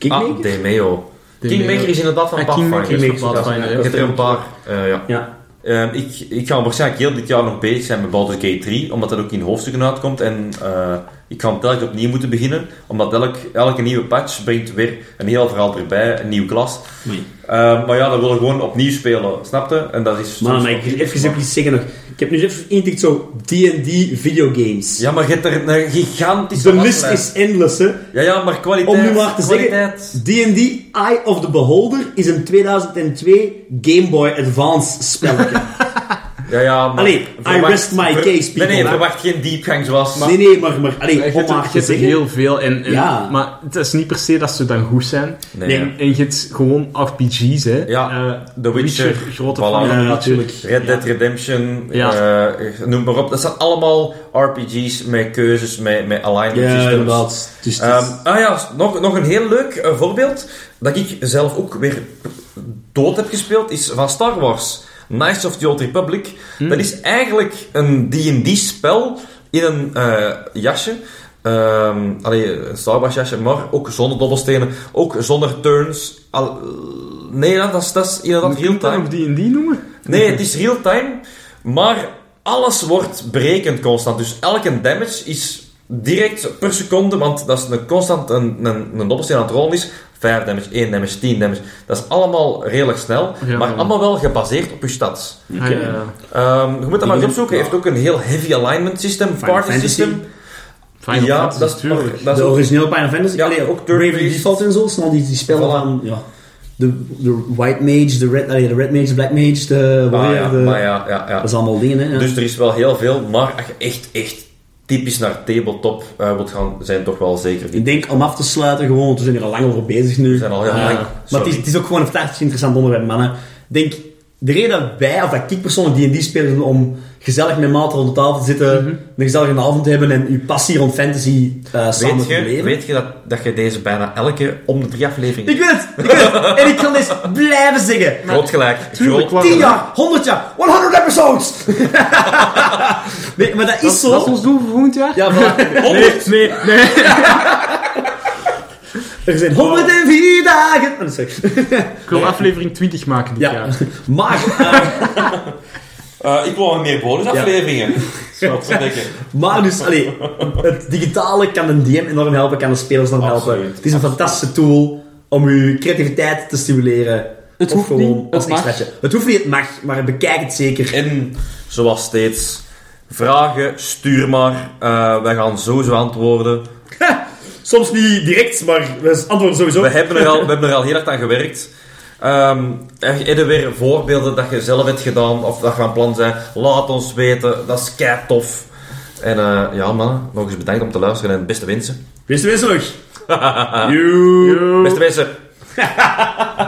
S1: Ah, Demeo. Kingmaker is inderdaad van
S4: Ah,
S1: Pathfinder.
S4: Kingmaker is van
S1: Ja,
S4: Pathfinder, ja.
S1: Ik heb er een paar, eh, ja.
S3: Ja.
S1: Ehm, ik, ik ga waarschijnlijk heel dit jaar nog bezig zijn met Baldur's Gate 3, omdat dat ook in hoofdstukken uitkomt. En eh, ik ga hem telkens opnieuw moeten beginnen, omdat elk, elke nieuwe patch brengt weer een heel verhaal erbij, een nieuw klas.
S3: Oei.
S1: Ehm, maar ja, dat wil ik gewoon opnieuw spelen, snapte? En dat is...
S3: Mannen, maar
S1: soms-
S3: ik wil even, even iets zeggen nog. Ik heb nu even ingetikt zo D&D videogames.
S1: Ja, maar je hebt er een gigantische...
S3: De list
S1: waslijst.
S3: is endless, hè.
S1: Ja, ja, maar kwaliteit...
S3: Om nu maar te
S1: kwaliteit.
S3: zeggen, D&D Eye of the Beholder is een 2002 Game Boy Advance
S1: *laughs*
S3: spelletje.
S1: Ja, ja, maar...
S3: Allee, I rest my
S1: ver-
S3: case, people,
S1: Nee, nee,
S3: hè.
S1: verwacht geen diepgang zoals...
S3: nee, nee, maar, maar allee,
S4: Je
S3: om
S4: hebt er-
S3: maar
S4: je
S3: te
S4: hebt er
S3: zeggen.
S4: dus heel veel. En, en-
S3: Ja.
S4: Maar het is niet per se dat ze dan goed zijn.
S1: Nee.
S4: En, en je hebt gewoon RPG's, hè.
S1: Ja,
S4: Eh,
S1: The Witcher,
S4: grote
S1: voilà.
S4: fan van
S3: Ja,
S4: The Witcher.
S3: natuurlijk.
S1: Red Dead Redemption,
S4: Ja.
S1: eh, noem maar op. Dat zijn allemaal RPG's met keuzes, met, met alignment
S3: Ja,
S1: systems.
S3: inderdaad. Dus het is-
S1: Ehm, ah ja, nog, nog een heel leuk eh, voorbeeld dat ik zelf ook weer dood heb gespeeld, is van Star Wars. Knights of the Old Republic.
S3: Hmm.
S1: Dat is eigenlijk een D&D-spel in een eh, jasje. Ehm allee, een Star Wars jasje, maar ook zonder dobbelstenen, ook zonder turns. Al- nee, dat is, dat is inderdaad
S4: Moet ik dat
S1: real-time.
S4: nog die en die noemen?
S1: Nee, het is real-time, maar alles wordt berekend constant. Dus elke damage is direct per seconde, want dat is een constant een, een, een dobbelsteen aan het rollen is. 5 damage, 1 damage, 10 damage. Dat is allemaal redelijk snel,
S4: Ja.
S1: maar allemaal wel gebaseerd op je stats.
S4: Ah,
S3: eh,
S4: ja, ja.
S1: Ehm, je moet dat maar eens
S3: ben-
S1: opzoeken. Hij heeft ook een heel heavy alignment system,
S3: Final
S1: party
S3: Fantasy.
S1: system.
S4: Final
S1: ja,
S4: Fantasy,
S1: dat is, Oh,
S4: tuurlijk.
S1: dat is
S3: de
S1: ook-
S3: originele Final Fantasy.
S1: Ja,
S3: allee,
S1: ook
S3: ook Brave
S1: turn-based.
S3: Default en zo. Snel die, die spellen
S1: Voilà.
S3: van... Ja. De, de White Mage, de Red, allee, de red Mage, de Black Mage, de
S1: Ah,
S3: Warrior.
S1: ja,
S3: de-
S1: maar ja, ja, ja.
S3: Dat is allemaal dingen, hè. ja.
S1: Dus er is wel heel veel, maar als je echt, echt typisch naar tabletop eh, wilt gaan, zijn toch wel zeker die.
S3: Ik denk om af te sluiten, gewoon, want we zijn er al lang over bezig nu.
S1: We zijn al heel
S3: Eh,
S1: lang.
S3: Maar het
S1: Sorry.
S3: is, het is ook gewoon een fantastisch interessant onderwerp, mannen. Ik denk, de reden dat wij, of dat ik persoonlijk die en die spelen, om gezellig met maten rond de tafel te zitten,
S4: Mhm.
S3: een gezellige avond te hebben en uw passie rond fantasy eh samen
S1: Weet
S3: te
S1: je,
S3: beleven.
S1: weet je dat, dat je deze bijna elke om de drie afleveringen...
S3: Ik weet het, ik weet het. En ik kan dit blijven zeggen.
S1: Groot gelijk.
S4: Tuurlijk,
S1: groot-
S4: waar-
S3: 10 jaar, 100 jaar, 100 episodes! *laughs* nee, maar dat is zo.
S4: Dat is ons doel voor volgend jaar?
S3: Ja,
S4: *laughs*
S3: voilà.
S4: Nee, nee, nee.
S3: Er zijn 104 dagen. Oh, dat is weg. *laughs*
S4: Ik wil aflevering 20 maken dit
S3: Ja,
S4: jaar.
S3: maar... eh,
S1: Eh, ik wil nog meer bonusafleveringen. *laughs* Ontdekken.
S3: Maar dus, allee, het digitale kan een DM enorm helpen, kan de spelers enorm helpen.
S1: Absoluut.
S3: Het is een fantastische tool om uw creativiteit te stimuleren.
S4: Het
S3: Of
S4: hoeft
S3: gewoon
S4: niet,
S3: als
S4: het mag.
S3: extraatje. Het hoeft niet, het mag, maar bekijk het zeker. *laughs*
S1: En zoals steeds, vragen, stuur maar. Eh, wij gaan sowieso antwoorden.
S3: Soms niet direct, maar we antwoorden sowieso.
S1: We hebben er al, we hebben er al heel hard aan gewerkt. Ehm heb je weer voorbeelden dat je zelf hebt gedaan of dat je van plan zijn? Laat ons weten, dat is kei tof. En eh, ja, man, nog eens bedankt om te luisteren en beste wensen.
S3: Wisten we nog? Joe.
S1: Beste wensen.